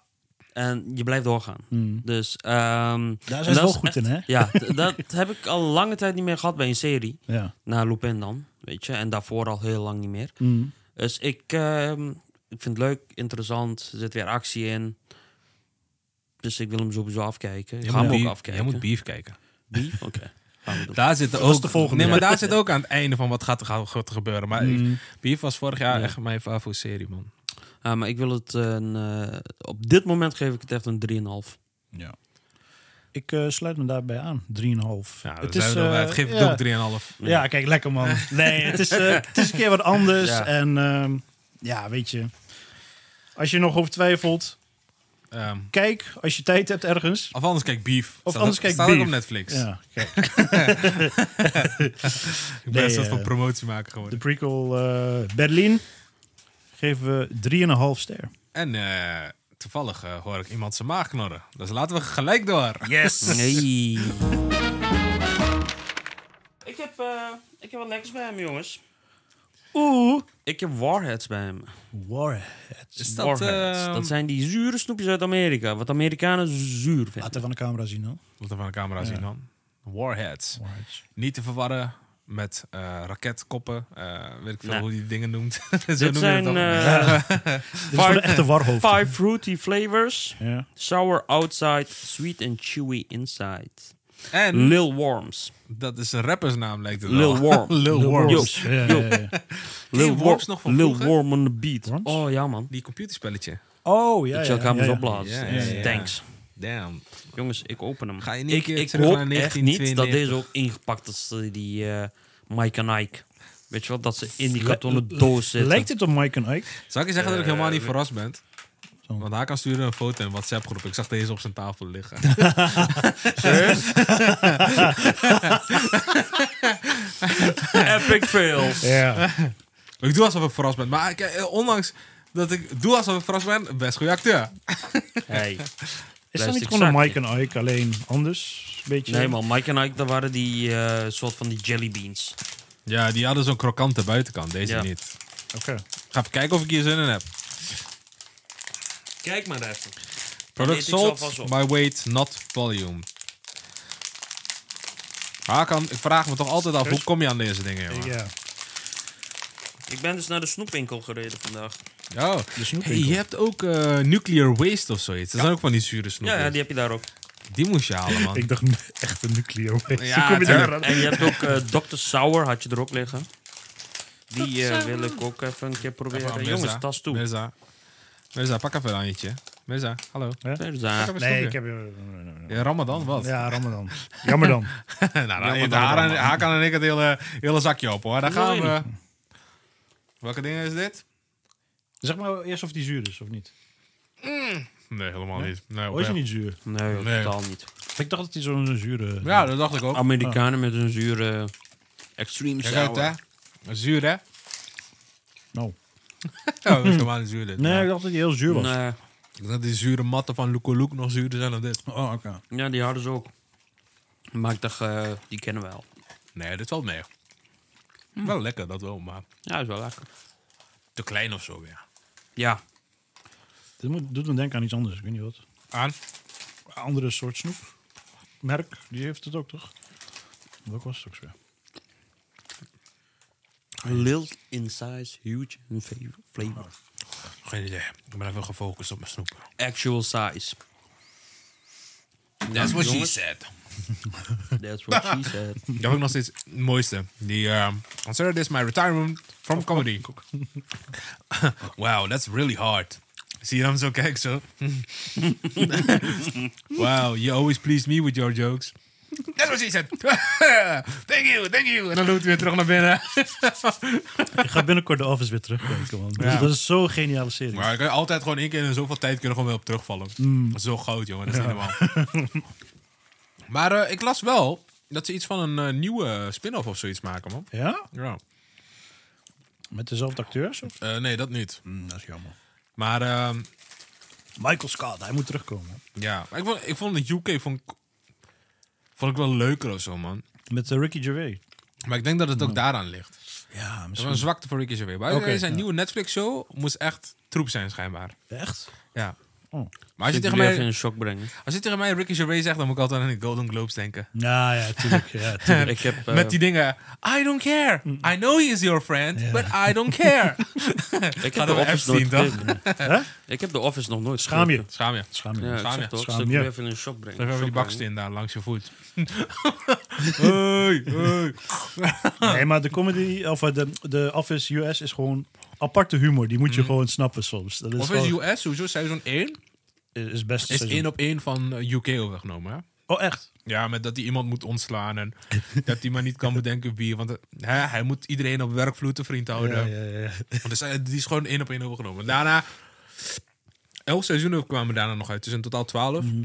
B: En je blijft doorgaan.
A: Mhm.
B: Dus, ehm, en dat
C: Daar zijn ze wel
B: is
C: goed
B: echt-
C: in, hè?
B: Ja, d- dat heb ik al lange tijd niet meer gehad bij een serie.
C: Ja.
B: Na Lupin dan, weet je. En daarvoor al heel lang niet meer.
C: Mm.
B: Dus ik, ehm, ik vind het leuk, interessant. Er zit weer actie in. Dus ik wil hem sowieso afkijken. Ik
A: Jij
B: ga hem
A: moet
B: ook
A: Beef-
B: afkijken.
A: Jij moet Beef kijken.
B: Beef? Oké. Gaan we doen.
A: Daar zit
C: was
A: ook,
C: de volgende.
A: Nee, maar daar zit ook aan het einde van wat gaat er, gaat er gebeuren. Maar ik-
C: Mm.
A: Beef was vorig jaar
B: Ja.
A: echt mijn favoriete serie, man.
B: Ah, maar ik wil het een, eh, op dit moment geef ik het echt een 3,5.
C: ja. Ik eh, sluit me daarbij aan. 3,5.
A: Ja, het, is, het
C: eh,
A: geeft
C: ja.
A: het ook 3,5.
C: Ja, kijk, lekker man. Nee, het is, eh, het is een keer wat anders.
B: Ja.
C: En ehm, ja, weet je. Als je nog over twijfelt,
A: Ehm,
C: Kijk, als je tijd hebt ergens.
A: of anders kijk Beef.
C: Of
A: Staat
C: anders
A: ook-
C: kijk
A: staat ook
C: Beef.
A: op Netflix.
C: Ja, kijk.
A: Ik ben een soort van
C: eh,
A: promotie maken
C: De
A: geworden.
C: prequel eh, Berlin geven we 3,5 ster.
A: En eh, toevallig eh, hoor ik iemand zijn maag knorren. Dus laten we gelijk door.
C: Yes!
B: Nee. Ik heb, eh, ik heb wat lekkers bij hem, jongens.
C: Oeh!
B: Ik heb Warheads bij hem.
C: Warheads.
A: Is dat,
B: Warheads.
A: ehm,
B: dat zijn die zure snoepjes uit Amerika. Wat Amerikanen zuur vinden.
C: Laat even van de camera zien dan.
A: Laten we van de camera zien dan. Warheads.
C: Warheads.
A: Niet te verwarren met eh, raketkoppen. eh, weet ik veel
B: Nee.
A: hoe die dingen noemt. Zo noem je
B: Dit
A: dat
B: zijn
A: ook.
B: eh,
C: Dit is voor de echte warhoofd.
B: five fruity flavors.
C: Ja.
B: Sour outside, sweet and chewy inside.
A: en
B: Lil Worms.
A: dat is een rappersnaam lijkt het
B: Lil
A: wel.
B: Worm.
A: Lil
C: Lil
A: Worm.
C: Worms. Ja, ja, ja.
A: Lil
B: Wor-
A: Worms nog van
B: Lil
A: vroeger?
B: Worm on the beat.
C: Worms?
B: Oh ja, man.
A: Die computerspelletje.
C: Oh, ja,
B: Dat
C: ja.
B: je elkaar
C: ja,
B: moest
C: ja.
B: opblazen.
A: Ja, ja, ja.
B: Thanks.
A: Damn.
B: Jongens, ik open hem.
A: Ga je niet een
B: ik,
A: keer
B: ik
A: terug
B: hoop
A: naar
B: echt niet dat
A: 1992?
B: deze ook ingepakt is, eh, die eh, Mike en Ike. Weet je wel, dat ze in die kartonnen doos zitten.
C: Lijkt het op Mike en Ike?
A: Zal ik je zeggen dat
B: Eh,
A: ik helemaal niet verrast ben? Want daar kan sturen een foto in WhatsApp groep. Ik zag deze op zijn tafel liggen.
B: Epic fails.
C: Ja.
A: ik doe alsof ik verrast ben. Maar ik, eh, ondanks dat ik doe alsof ik verrast ben, best goede acteur.
B: Hey.
C: Is dat
B: Plastic
C: niet gewoon een
B: zakje.
C: Mike en Ike, alleen anders? Beetje...
B: Nee man, Mike en Ike, dat waren die eh, soort van die jellybeans.
A: Ja, die hadden zo'n krokante buitenkant. Deze
B: Ja.
A: niet.
C: Oké.
A: Ik ga even kijken of ik hier zin in heb.
B: Kijk maar even.
A: Product
B: eet ik zo
A: sold
B: vast op.
A: by weight, not volume. Hakan, ik vraag me toch altijd af,
B: Dus-
A: hoe kom je aan deze dingen, jongen?
C: Ja.
B: Ik ben dus naar de snoepwinkel gereden vandaag.
A: Oh, hey,
C: snoepwinkel.
A: je hebt ook eh, nuclear waste of zoiets. Dat zijn ook van die zure snoepjes.
B: Ja, ja, die heb je daar ook.
A: die moest je halen, man.
C: Ik dacht nu echt een nuclear waste.
A: Ja,
C: Hoe kom je
A: tuurlijk.
C: daar aan?
B: En je hebt ook eh, Dr. Sour, had je er ook liggen. Die eh, wil ik ook even een keer proberen.
A: Mirza,
B: Jongens, tas toe.
A: Mirza. Mirza, pak even een handje. Mirza, hallo.
B: Mirza.
A: Pak even een
C: Nee, ik
A: snoepje.
C: heb... eh,
A: Ja, Ramadan, wat?
C: Ja, Ramadan. Jammer dan.
A: nou, dan
B: Ramadan,
A: eet haar en-
B: Ramadan.
A: Hakan en ik het hele, hele zakje op, hoor. Daar
B: Hoezo
A: gaan we. Welke dingen is dit?
C: Zeg maar eerst of die zuur is of niet.
A: Nee, helemaal niet. Nee,
C: Oh, is
A: oprecht.
C: hij niet zuur?
B: Nee, joh,
A: Nee.
B: totaal niet.
C: Ik dacht dat hij zo'n eh, zure...
A: Ja, dat dacht ik ook.
B: Amerikanen met een zure eh, extreme
A: Kijk uit, hè.
B: sour.
A: Zuur, hè?
C: Nou.
A: Ja, dat is helemaal niet zuur dit.
C: Nee,
A: Maar
C: ik dacht dat hij heel zuur was.
B: Nee,
A: ik dacht die zure matten van Luco Luke nog zuurder zijn dan dit.
C: Oh, oké.
B: ja, die hadden ze ook. Maar ik dacht, eh, die kennen we wel.
A: Nee, dit valt mee. Wel lekker, dat wel, maar
B: Ja, is wel lekker.
A: te klein of zo weer.
B: Ja,
C: Dit moet, doet me denken aan iets anders. Ik weet niet wat.
A: Aan?
C: Een andere soort snoep. Merk, die heeft het ook, toch? Welk was het ook zo?
B: Lil in size, huge in fa- flavor.
A: Geen idee. Ik ben even gefocust op mijn snoepen.
B: Actual size.
A: That's what she
B: Jongens.
A: said.
B: That's what she said.
A: Dat heb ik nog steeds het mooiste. Die, ehm consider this my retirement from comedy. wow, that's really hard. Zie je hem zo kijken zo? wow, you always please me with your jokes. That's what she said. thank you, thank you. En dan loopt hij weer terug naar binnen.
C: Ik ga binnenkort de Office weer terugkijken, man.
A: Ja.
C: Dat is zo'n geniale serie.
A: Maar ik kan altijd gewoon één keer in zoveel tijd kunnen gewoon weer op terugvallen. Dat is zo goud, jongen. Dat is niet normaal. maar eh, ik las wel dat ze iets van een eh, nieuwe spin-off of zoiets maken, man.
C: Ja?
A: Ja.
C: Met dezelfde acteurs? Of?
A: Eh, nee, dat niet.
C: dat is jammer.
A: Maar ehm,
C: Michael Scott, hij moet terugkomen.
A: ja, Maar ik vond, ik vond de UK vond, ik- vond ik wel leuker of zo, man.
C: Met eh, Ricky Gervais.
A: Maar ik denk dat het ook daaraan ligt.
C: Ja,
A: Dat was een zwakte voor Ricky Gervais. Maar
C: Oké,
A: zijn
C: ja.
A: nieuwe Netflix-show moest echt troep zijn, schijnbaar.
C: Echt?
A: Ja.
C: Oh.
A: Maar als je,
B: Ik
A: tegen
B: wil even
A: mij,
B: in shock brengen.
A: als je tegen mij Ricky Gervais zegt, dan moet ik altijd aan de Golden Globes denken.
C: Ja, ja, tuurlijk. Ja, tuurlijk.
B: Ik heb, eh,
A: Met die dingen. I don't care. I know he is your friend, but I don't care.
B: ik
A: Ga
B: heb de
A: dan
B: office
A: even
B: nooit
A: zien, toch?
B: gekeken.
C: Hè?
B: Ik heb de office nog nooit
C: Schaam je.
B: gekeken.
A: Schaam je.
C: Schaam je.
B: Ja, ik
A: Schaam
B: zeg
A: je.
B: toch,
C: Schaam
B: ik
C: je.
B: wil even in shock brengen.
A: Even over die
B: Shock
A: baksteen daar langs je voet. Hoi, hoi.
C: Nee, maar de comedy, of eh, de, de Office US is gewoon aparte humor. Die moet je gewoon snappen soms. Dat is,
A: Of is
C: gewoon-
A: US, hoezo? Seizoen 1
C: is- is best
A: is
C: seizoen.
A: één op één van eh, UK overgenomen, hè?
C: Oh, echt?
A: Ja, met dat hij iemand moet ontslaan en dat hij maar niet kan bedenken wie. Want eh, hè, hij moet iedereen op werkvloer te vriend houden.
C: ja, ja.
A: Dus eh, die is gewoon één op één overgenomen. Daarna elf seizoenen kwamen daarna nog uit. Dus in totaal twaalf.
C: Mhm.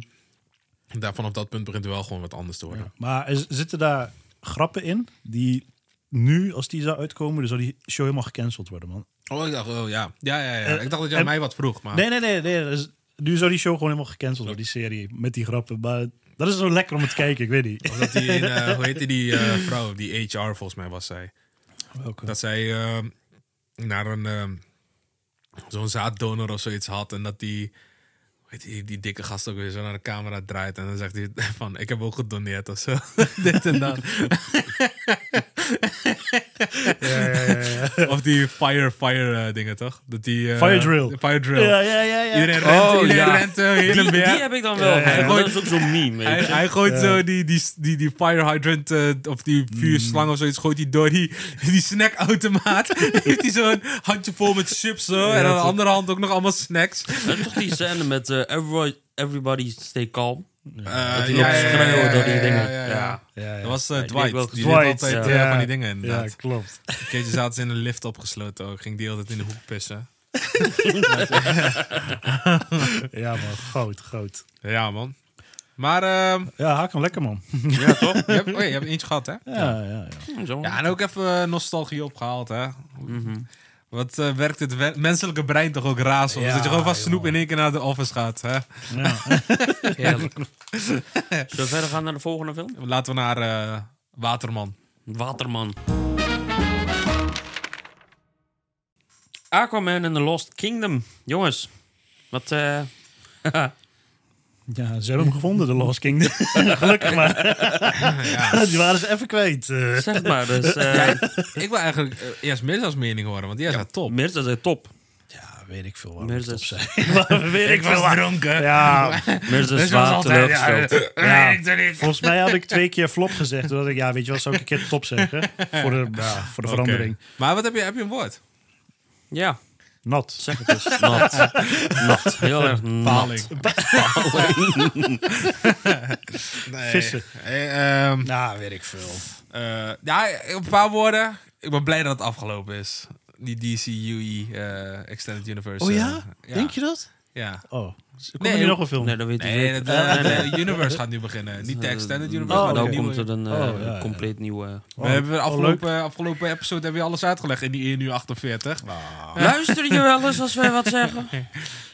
A: Daar, vanaf dat punt begint het wel gewoon wat anders te worden.
C: Maar er z- zitten daar grappen in die nu, als die zou uitkomen, dan zou die show helemaal gecanceld worden, man.
A: Oh, ik dacht, oh ja. Ja, ja, ja.
C: Eh,
A: ik dacht dat jij
C: en-
A: mij wat vroeg, maar...
C: Nee, nee, nee. nee dat is- nu zou die show gewoon helemaal gecanceld worden, die serie, met die grappen. Maar dat is zo lekker om het te kijken, ik weet niet.
A: Of dat die, een, eh, hoe heette die eh, vrouw? Die HR volgens mij was zij. Dat zij eh, naar een ehm, zo'n zaaddonor of zoiets had. En dat die, hoe heet die, die dikke gast ook weer zo naar de camera draait. En dan zegt hij van, ik heb ook gedoneerd of zo. Dit en dat. Of die fire, fire eh, dingen toch? Dat die, eh,
C: Fire drill.
A: de Fire drill.
C: Ja, ja, ja. ja.
A: Iedereen rent,
B: Oh,
A: iedereen
B: ja.
A: rent eh, heen
B: Die,
A: en
B: die
A: weer.
B: heb ik dan wel.
A: ja, ja.
B: Maar Dat is ook zo'n meme. weet
A: Hij,
B: je.
A: hij gooit zo die, die, die, die fire hydrant eh, of die vuurslang of zoiets, gooit hij door die, die snackautomaat. Heeft hij zo'n handje vol met chips zo, en aan de andere hand ook nog allemaal snacks.
B: Dat is toch die scène met eh, everybody, everybody stay calm?
A: Eh,
B: die loopt te schreeuwen door die dingen.
A: ja.
B: Ja.
A: Dat was eh,
B: Ja, die
A: Dwight.
B: heb ik wel
A: Die
B: gezien.
A: deed
C: Dwight,
A: altijd
C: ja.
A: eh, van die dingen inderdaad.
C: Ja, klopt.
A: Een keertje zaten ze in de lift opgesloten ook. Ging die altijd in de hoek pissen.
C: Ja, man, groot, groot.
A: Ja, man. Maar, ehm,
C: Ja, haak hem lekker, man.
A: ja toch? Je hebt, oh, je hebt eentje gehad, hè?
C: Ja, ja, ja.
B: Hm, zo.
A: Ja, en ook even eh, nostalgie opgehaald, hè? Wat eh, werkt het we- menselijke brein toch ook raar soms?
C: Ja,
A: dat je gewoon vast snoep
C: joh.
A: in één keer naar de office gaat, hè?
B: Heerlijk. Zullen we verder gaan naar de volgende film?
A: Laten we naar eh, Waterman.
B: Waterman. Aquaman and the Lost Kingdom. Jongens, wat... eh,
C: Ja, ze hebben hem gevonden, de Lost Kingdom. Gelukkig maar. Die waren ze even kwijt. Eh,
B: zeg maar, dus... eh
A: ik wil eigenlijk eh, eerst Mirza's mening horen, want die is ja. top.
B: Mirza is echt top.
C: Ja, weet ik veel waar we
B: Mirza
C: het op
B: is,
C: zijn. weet ik veel waar.
A: dronken.
C: Ja,
B: Mirza is
A: Dus was
B: zwaar
A: altijd, ja,
B: teleurgesteld.
C: Ja.
A: weet ik er niet.
C: volgens mij had ik twee keer flop gezegd. Doordat ik, ja, weet je wat, zou ik een keer top zeggen? Voor de, ja, voor
A: Oké.
C: de verandering.
A: Maar wat heb je, heb je een woord?
B: Ja,
C: Nat.
B: zeg het eens. Nat. Nat. Heel erg nat.
A: Nee.
C: Vissen.
A: Eh, ehm,
C: Nou, weet ik veel.
A: eh, ja, een paar woorden. Ik ben blij dat het afgelopen is. Die DCUE eh Extended Universe.
C: Oh
A: eh,
C: ja? Denk je dat?
A: Ja.
C: Oh. Komt
A: Nee,
C: er nu nog een film?
B: Nee, dat weet ik
A: Nee,
B: niet.
A: dat, eh, de universe gaat nu beginnen. Niet de extended universe,
C: Oh,
A: maar de
B: nou
C: oké.
A: nieuwe.
B: komt er een eh,
C: Oh, ja, ja.
B: compleet nieuwe...
A: We hebben de
C: Oh,
A: afgelopen, afgelopen episode hebben we alles uitgelegd in die E 1 uur 48.
B: Luister je wel eens als wij wat zeggen?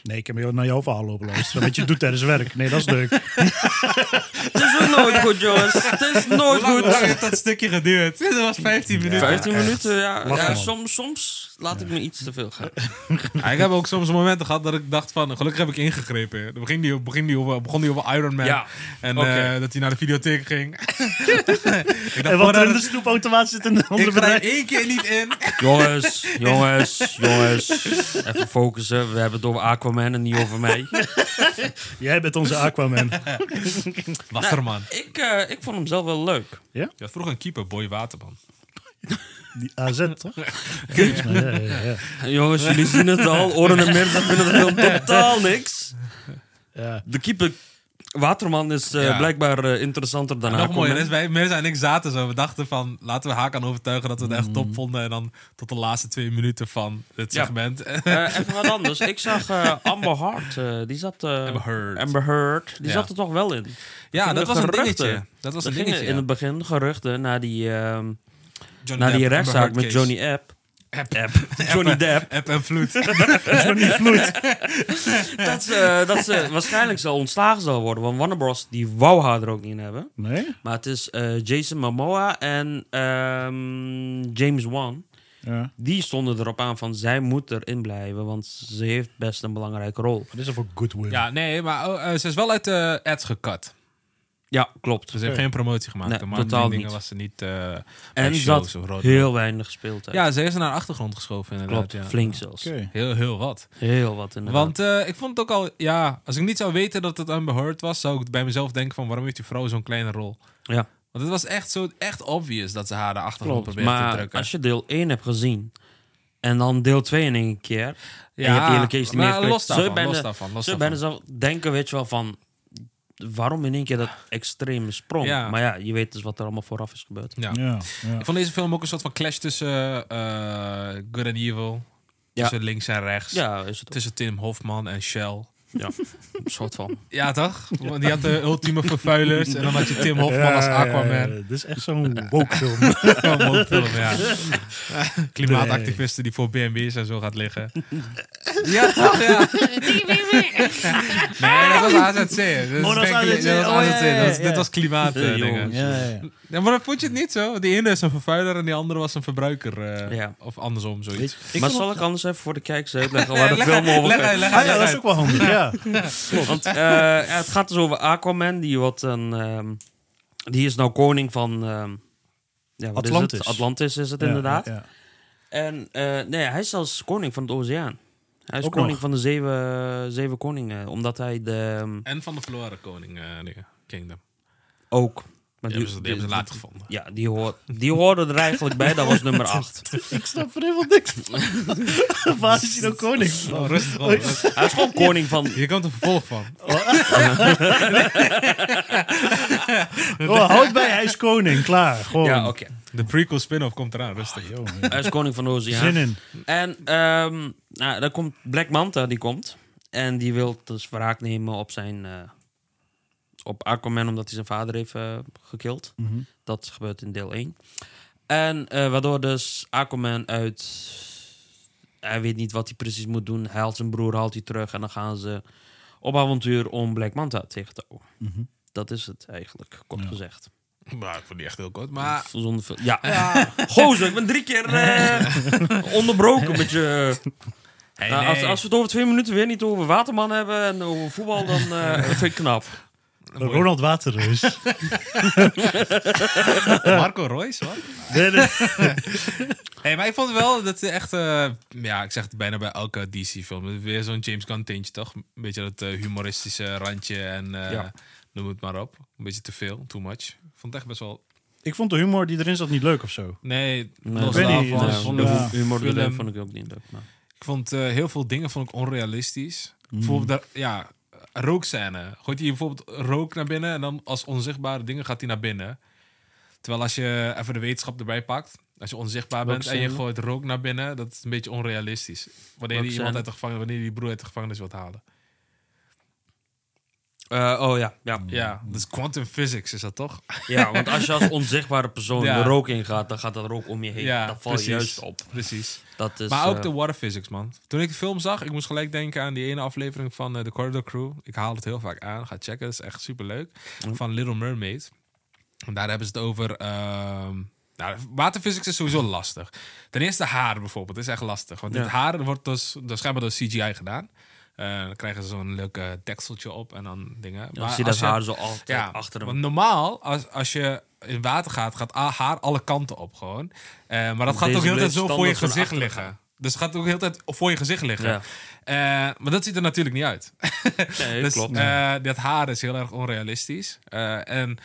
C: Nee, ik heb heel naar jouw verhaal lopen luisteren. Wat je doet tijdens werk. Nee, dat is leuk.
B: Het is ook nooit goed, jongens. Het is nooit
A: Hoe lang
B: goed.
A: heeft dat stukje geduurd? Dat was 15 minuten.
B: 15 minuten, ja.
C: Lachen,
B: ja
C: man.
B: soms, soms laat ik me iets te veel gaan.
A: Ja, ik heb ook soms momenten gehad dat ik dacht van, gelukkig heb ik ingegrepen. Dan begin die, begin die over, begon die over Iron Man.
B: Ja,
A: En
B: oké.
A: eh, dat hij naar de videotheek ging. ik dacht,
C: En wat er in
A: voordat
C: de
A: het-
C: snoepautomaat zit in de andere
A: eh, ik grijp
C: bedrijf.
A: één keer niet in.
B: Jongens, jongens, jongens. Even focussen. We hebben het over Aquaman en niet over mij.
C: Jij bent onze Aquaman.
A: Wasserman.
B: Ik, eh, ik vond hem zelf wel leuk.
A: Ja, vroeger een keeper, Boy Waterman.
C: Die AZ, toch? Volgens mij, ja, ja, ja.
B: Jongens, jullie zien het al. Oren en mensen vinden de film totaal niks.
C: Ja.
B: De keeper Waterman is eh,
A: Ja.
B: blijkbaar eh, interessanter dan
A: Nog mooier
B: Aquaman.
A: is, wij mensen en ik zaten zo. We dachten van, laten we Hakan overtuigen dat we het echt top vonden. En dan tot de laatste twee minuten van het
B: Ja.
A: segment.
B: Eh, even wat anders. Ik zag eh, Amber Hart. eh, die zat... eh,
A: Amber Heard.
B: Amber Heard. Die
A: Ja.
B: zat er toch wel in.
A: ja, dat
B: gingen
A: was een
B: geruchten.
A: dingetje. Dat was
B: Er
A: een
B: gingen
A: dingetje.
B: in
A: ja.
B: het begin geruchten naar die, ehm
A: Johnny
B: naar die
A: Depp,
B: rechtszaak
A: Amber
B: met
A: Heard
B: Johnny App.
A: App.
B: Johnny Depp.
A: case. App en vloed.
B: dat ze, dat ze waarschijnlijk zal ontslagen zal worden. Want Warner Bros. die wou haar er ook niet in hebben.
C: Nee?
B: Maar het is eh, Jason Momoa en ehm, James Wan.
C: Ja.
B: Die stonden erop aan van zij moet erin blijven. Want ze heeft best een belangrijke rol.
C: Dit is voor goodwill.
A: ja, nee, maar oh, eh, ze is wel uit de ads gekut.
B: Ja, klopt.
A: Dus ze heeft geen promotie gemaakt.
B: Nee,
A: de man
B: totaal
A: dingen
B: niet.
A: was ze niet eh bij
B: En ze had
A: shows of rood.
B: heel weinig gespeeld.
A: Ja, ze heeft ze naar de achtergrond geschoven inderdaad.
B: klopt.
A: ja.
B: Flink zelfs.
C: Oké.
A: Heel, heel wat.
B: Heel wat inderdaad.
A: Want eh, ik vond het ook al, ja, als ik niet zou weten dat het Amber Heard was, zou ik bij mezelf denken van waarom heeft die vrouw zo'n kleine rol?
B: ja.
A: Want het was echt zo echt obvious dat ze haar de achtergrond
B: Klopt,
A: probeerde te
B: maar
A: drukken.
B: als je deel 1 hebt gezien en dan deel 2 in één keer, en
A: Ja,
B: je hebt die hele case niet
A: maar
B: meer gekregen,
A: los daarvan,
B: zul je bijna-
A: los daarvan, los
B: zul je
A: daarvan.
B: bijna zelf denken, weet je wel, van waarom in één keer dat extreme sprong?
A: Ja.
B: Maar ja, je weet dus wat er allemaal vooraf is gebeurd.
A: ja.
C: Ja, ja.
A: Ik vond deze film ook een soort van clash tussen eh, good and evil.
B: Ja.
A: Tussen links en rechts.
B: Ja, is het ook.
A: Tussen Tim Hofman en Shell.
B: Ja, een soort van.
A: Ja, toch? Want die had de ultieme vervuilers. En dan had je Tim Hofman als
C: Ja, ja,
A: Aquaman.
C: ja. Dit is echt zo'n woke film.
A: Gewoon een film, ja. Klimaatactivisten die voor BNB's en zo gaat liggen. Ja, toch? Ja. Nee, dat was AZC. Dus
C: Oh,
A: denk
C: dat was
A: ik-
C: AZC.
A: dat was
C: Oh, ja,
A: AZC.
C: ja, ja,
A: Dat was-
C: ja.
A: Dit was klimaat. eh,
B: Ja,
A: dingen.
B: jongens.
C: ja, ja, ja.
A: Ja, maar dat vond je het niet zo. De ene is een vervuiler en die andere was een verbruiker. eh,
B: Ja.
A: Of andersom,
C: Weet
A: zoiets.
C: je, ik
B: maar
C: vond
B: zal
C: het-
B: ik anders even voor de kijkers uitleggen waar de film over
A: Leg
B: gaat?
A: uit, leg
C: Ah
A: uit,
C: ja,
A: leg
C: dat is
A: uit.
C: ook wel handig. Ja.
B: Want eh, ja, het gaat dus over Aquaman, die wat een. ehm, die is nou koning van. ehm, ja, wat
C: Atlantis.
B: Is het? Atlantis is het inderdaad.
C: Ja, ja.
B: En eh, nee, hij is zelfs koning van de oceaan. Hij is
C: Ook
B: koning
C: nog.
B: van de zeven, zeven koningen. Omdat hij de. ehm,
A: En van de verloren koning eh, dingen. Kingdom.
B: ook. Maar
A: Die hebben ze- die hebben ze later gevonden.
B: Ja, die, hoort, die hoorde er eigenlijk bij. Dat was nummer 8.
C: Ik snap er helemaal niks van. Waar is hij nou koning? van?
A: Oh, Rustig op. rustig.
B: Hij is gewoon koning van.
A: Hier komt een vervolg van.
C: Oh, houd bij, hij is koning. Klaar, gewoon.
B: Ja, oké.
A: De prequel spin-off komt eraan, rustig.
C: Yo,
B: Hij is koning van de oceaan.
C: Zin in.
B: En ehm nou, dan komt Black Manta, die komt. En die wil dus wraak nemen op zijn... eh, op Aquaman, omdat hij zijn vader heeft eh gekild.
A: Mhm.
B: Dat gebeurt in deel 1. En eh, waardoor dus Aquaman uit... Hij weet niet wat hij precies moet doen. Hij haalt zijn broer, haalt hij terug. En dan gaan ze op avontuur om Black Manta tegen te houden. Dat is het eigenlijk, kort gezegd.
A: Maar ik vond die echt heel kort. Maar
B: Zonder veel- ja. Gozer, ik ben drie keer eh, onderbroken met je...
A: Hey,
B: Nou,
A: nee.
B: als, als we het over twee minuten weer niet over Waterman hebben en over voetbal, dan eh, dat vind ik knap.
C: Ronald Waterreus.
A: Marco Royce, hoor.
C: Nee, nee.
A: Hey, maar ik vond wel dat eh, echt, eh, ja, ik zeg het bijna bij elke DC-film. Weer zo'n James Gunn tintje, toch? Een beetje dat eh, humoristische randje en eh,
B: Ja.
A: noem het maar op. Een beetje te veel, too much. Ik vond het echt best wel...
C: Ik vond de humor die erin zat niet leuk of zo.
A: Nee,
B: Nee,
A: los
C: ik weet niet,
A: daarvan.
C: dat
A: ik
C: is-
A: vond
B: de
A: de
C: ja.
B: humor
A: film-
B: erin vond ik ook niet leuk. Maar.
A: Ik vond eh, heel veel dingen vond ik onrealistisch.
B: Mm.
A: Bijvoorbeeld, daar- ja, rookscène. Gooit hij bijvoorbeeld rook naar binnen en dan als onzichtbare dingen gaat hij naar binnen. Terwijl als je even de wetenschap erbij pakt, als je onzichtbaar bent en je
B: Rookscène.
A: gooit rook naar binnen, dat is een beetje onrealistisch. Wanneer je iemand
B: Rookscène.
A: uit de gevangenis, wanneer je die broer uit de gevangenis wilt halen.
B: Eh, oh ja, ja.
A: Ja, dus quantum physics is dat toch?
B: ja, want als je als onzichtbare persoon
A: Ja.
B: de rook ingaat, dan gaat dat rook om je heen.
A: ja,
B: dan val je juist op.
A: Precies.
B: Dat is,
A: maar ook
B: eh,
A: de water physics, man. Toen ik de film zag, ik moest gelijk denken aan die ene aflevering van eh The Corridor Crew. Ik haal het heel vaak aan. Ga checken, dat is echt superleuk. Van Little Mermaid. En daar hebben ze het over... ehm nou, waterphysics is sowieso lastig. Ten eerste haar bijvoorbeeld, is echt lastig. Want het haar wordt dus, dus schijnbaar door CGI gedaan. Eh, dan krijgen ze zo'n leuk eh, dekseltje op en dan dingen.
B: dan zie je dat
A: als je-
B: haar zo altijd achter
A: want
B: hem.
A: normaal, als, als je in water gaat, gaat a- haar alle kanten op gewoon. Eh, maar dat gaat
B: Deze
A: ook heel de tijd
B: bleef
A: zo voor je
B: standaard van
A: gezicht
B: achteren
A: liggen. Dus het gaat ook heel de tijd voor je gezicht liggen.
B: Ja.
A: Eh, maar dat ziet er natuurlijk niet uit.
B: Nee,
A: dus
B: klopt.
A: eh, dat haar is heel erg onrealistisch. Eh, en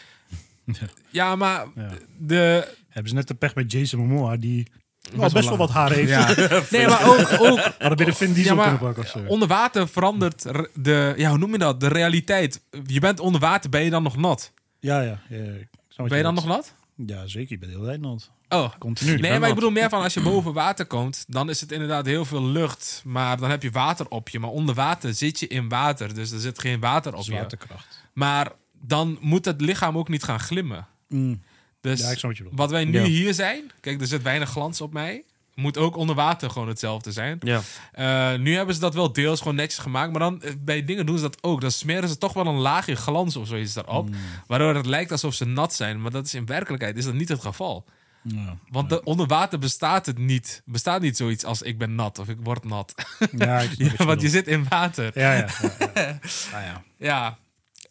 A: ja, maar de.
C: Hebben ze net de pech met Jason Momoa, die wel best, wel
A: lang.
C: wat haar heeft.
A: Ja.
B: nee, maar ook... ook
C: Hadden bij de Vin
A: Ja,
C: Diesel
A: maar
C: kunnen pakken of zo.
A: onder water verandert re- de, ja, hoe noem je dat? De realiteit. Je bent onder water, ben je dan nog nat?
C: Ja, ja. ja, ja. Ik snap wat
A: Ben je dan
C: wilt.
A: nog nat?
C: Ja, zeker. Ik ben heel Nederland.
A: Oh,
C: Continu.
A: Nee, maar ik bedoel meer van als je boven water komt, dan is het inderdaad heel veel lucht. Maar dan heb je water op je. Maar onder water zit je in water. Dus er zit geen water op je.
C: Zwaartekracht.
A: Maar dan moet het lichaam ook niet gaan glimmen. Dus
C: Mm. Ja, ik snap wat je bedoelt.
A: wat wij nu
B: Ja.
A: hier zijn, kijk, er zit weinig glans op mij. Moet ook onder water gewoon hetzelfde zijn.
B: ja.
A: Eh, nu hebben ze dat wel deels gewoon netjes gemaakt. Maar dan eh, bij dingen doen ze dat ook. Dan smeren ze toch wel een laagje glans of zoiets daarop.
C: Mm.
A: Waardoor het lijkt alsof ze nat zijn. Maar dat is in werkelijkheid is dat niet het geval.
C: Ja.
A: Want de- onder water bestaat het niet. Bestaat niet zoiets als ik ben nat of ik word nat.
C: Ja, ik
A: Ja,
C: snap wat je
A: want je
C: bedoelt.
A: zit in water.
C: Ja, ja. ja, ja. Ah, ja.
A: Ja.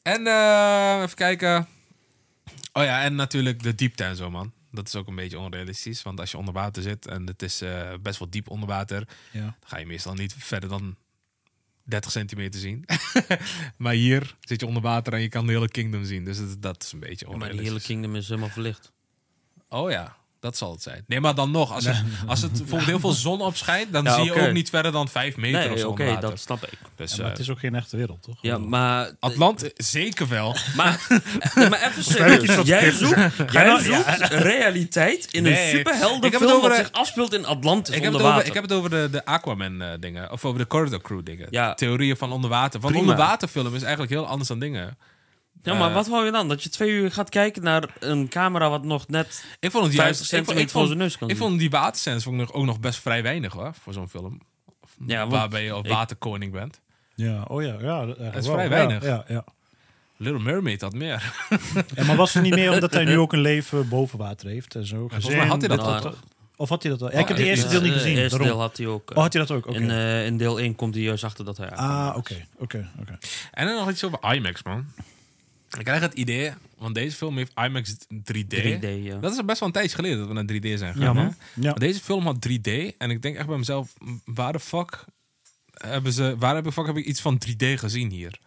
A: En eh, even kijken. Oh ja, en natuurlijk de diepte en zo, man. Dat is ook een beetje onrealistisch. Want als je onder water zit en het is eh, best wel diep onder water,
C: Ja.
A: dan ga je meestal niet verder dan 30 centimeter zien. maar hier zit je onder water en je kan de hele kingdom zien. Dus dat, dat is een beetje
B: Maar
A: onrealistisch.
B: die hele kingdom is helemaal verlicht.
A: Oh ja. Dat zal het zijn. Nee, maar dan nog. Als, het, als het bijvoorbeeld heel veel zon opschijnt, dan
B: Ja,
A: zie je
B: oké.
A: ook niet verder dan 5 meter
B: Nee,
A: of
B: oké,
A: zo. onder water.
B: dat snap ik.
A: Dus,
C: Ja, maar
A: eh,
C: het is ook geen echte wereld, toch?
B: Ja, maar...
A: Atlant, zeker wel.
B: Maar, eh, maar even serieus. Jij zoekt, jij zoekt realiteit in
A: Nee,
B: een
A: ik heb
B: superheldenfilm
A: het over
B: wat
A: de-
B: zich afspeelt in Atlantis
A: Ik heb,
B: onder
A: het over,
B: water.
A: ik heb het over de, de Aquaman-dingen. of over de Corridor Crew-dingen.
B: Ja.
A: Theorieën van onderwater. Want
B: Prima.
A: onderwaterfilm is eigenlijk heel anders dan dingen.
B: ja, maar
A: eh,
B: wat wou je dan? Dat je twee uur gaat kijken naar een camera wat nog net...
A: Ik vond het
B: 50
A: juist... Ik vond,
B: centimeter
A: ik
B: voor
A: vond,
B: zijn neus kan
A: ik
B: zien.
A: vond die waterscènes vond ik nog, ook nog best vrij weinig, hoor. Voor zo'n film.
B: Ja, want-
A: waarbij je op
B: ik-
A: waterkoning bent.
C: Ja, oh ja. ja dat
A: is vrij weinig.
C: Ja, ja.
A: Little Mermaid had meer.
C: En maar was het niet meer omdat hij nu ook een leven boven water heeft en zo?
A: volgens mij had hij dat
C: Gezin,
B: al.
C: Of had hij dat al? Ja, ik heb
A: Oh,
C: de eerste
A: ja,
C: deel niet
B: eh,
C: gezien.
B: eerste
C: daarom.
B: deel had hij ook. eh,
C: Oh, had hij dat ook? Oké.
B: in, eh, in deel 1 komt hij juist achter dat hij...
C: ah, oké, oké, oké.
A: En dan nog iets over IMAX, man. Ik krijg het idee, want deze film heeft IMAX 3D.
B: 3D, ja.
A: Dat is al best wel een tijdje geleden dat we naar 3D zijn
C: Ja,
A: gegaan.
C: man.
A: hè?
C: Ja.
A: Maar Deze film had 3D en ik denk echt bij mezelf, m, waar de fuck hebben ze, waar heb ik, fuck heb ik iets van 3D gezien hier?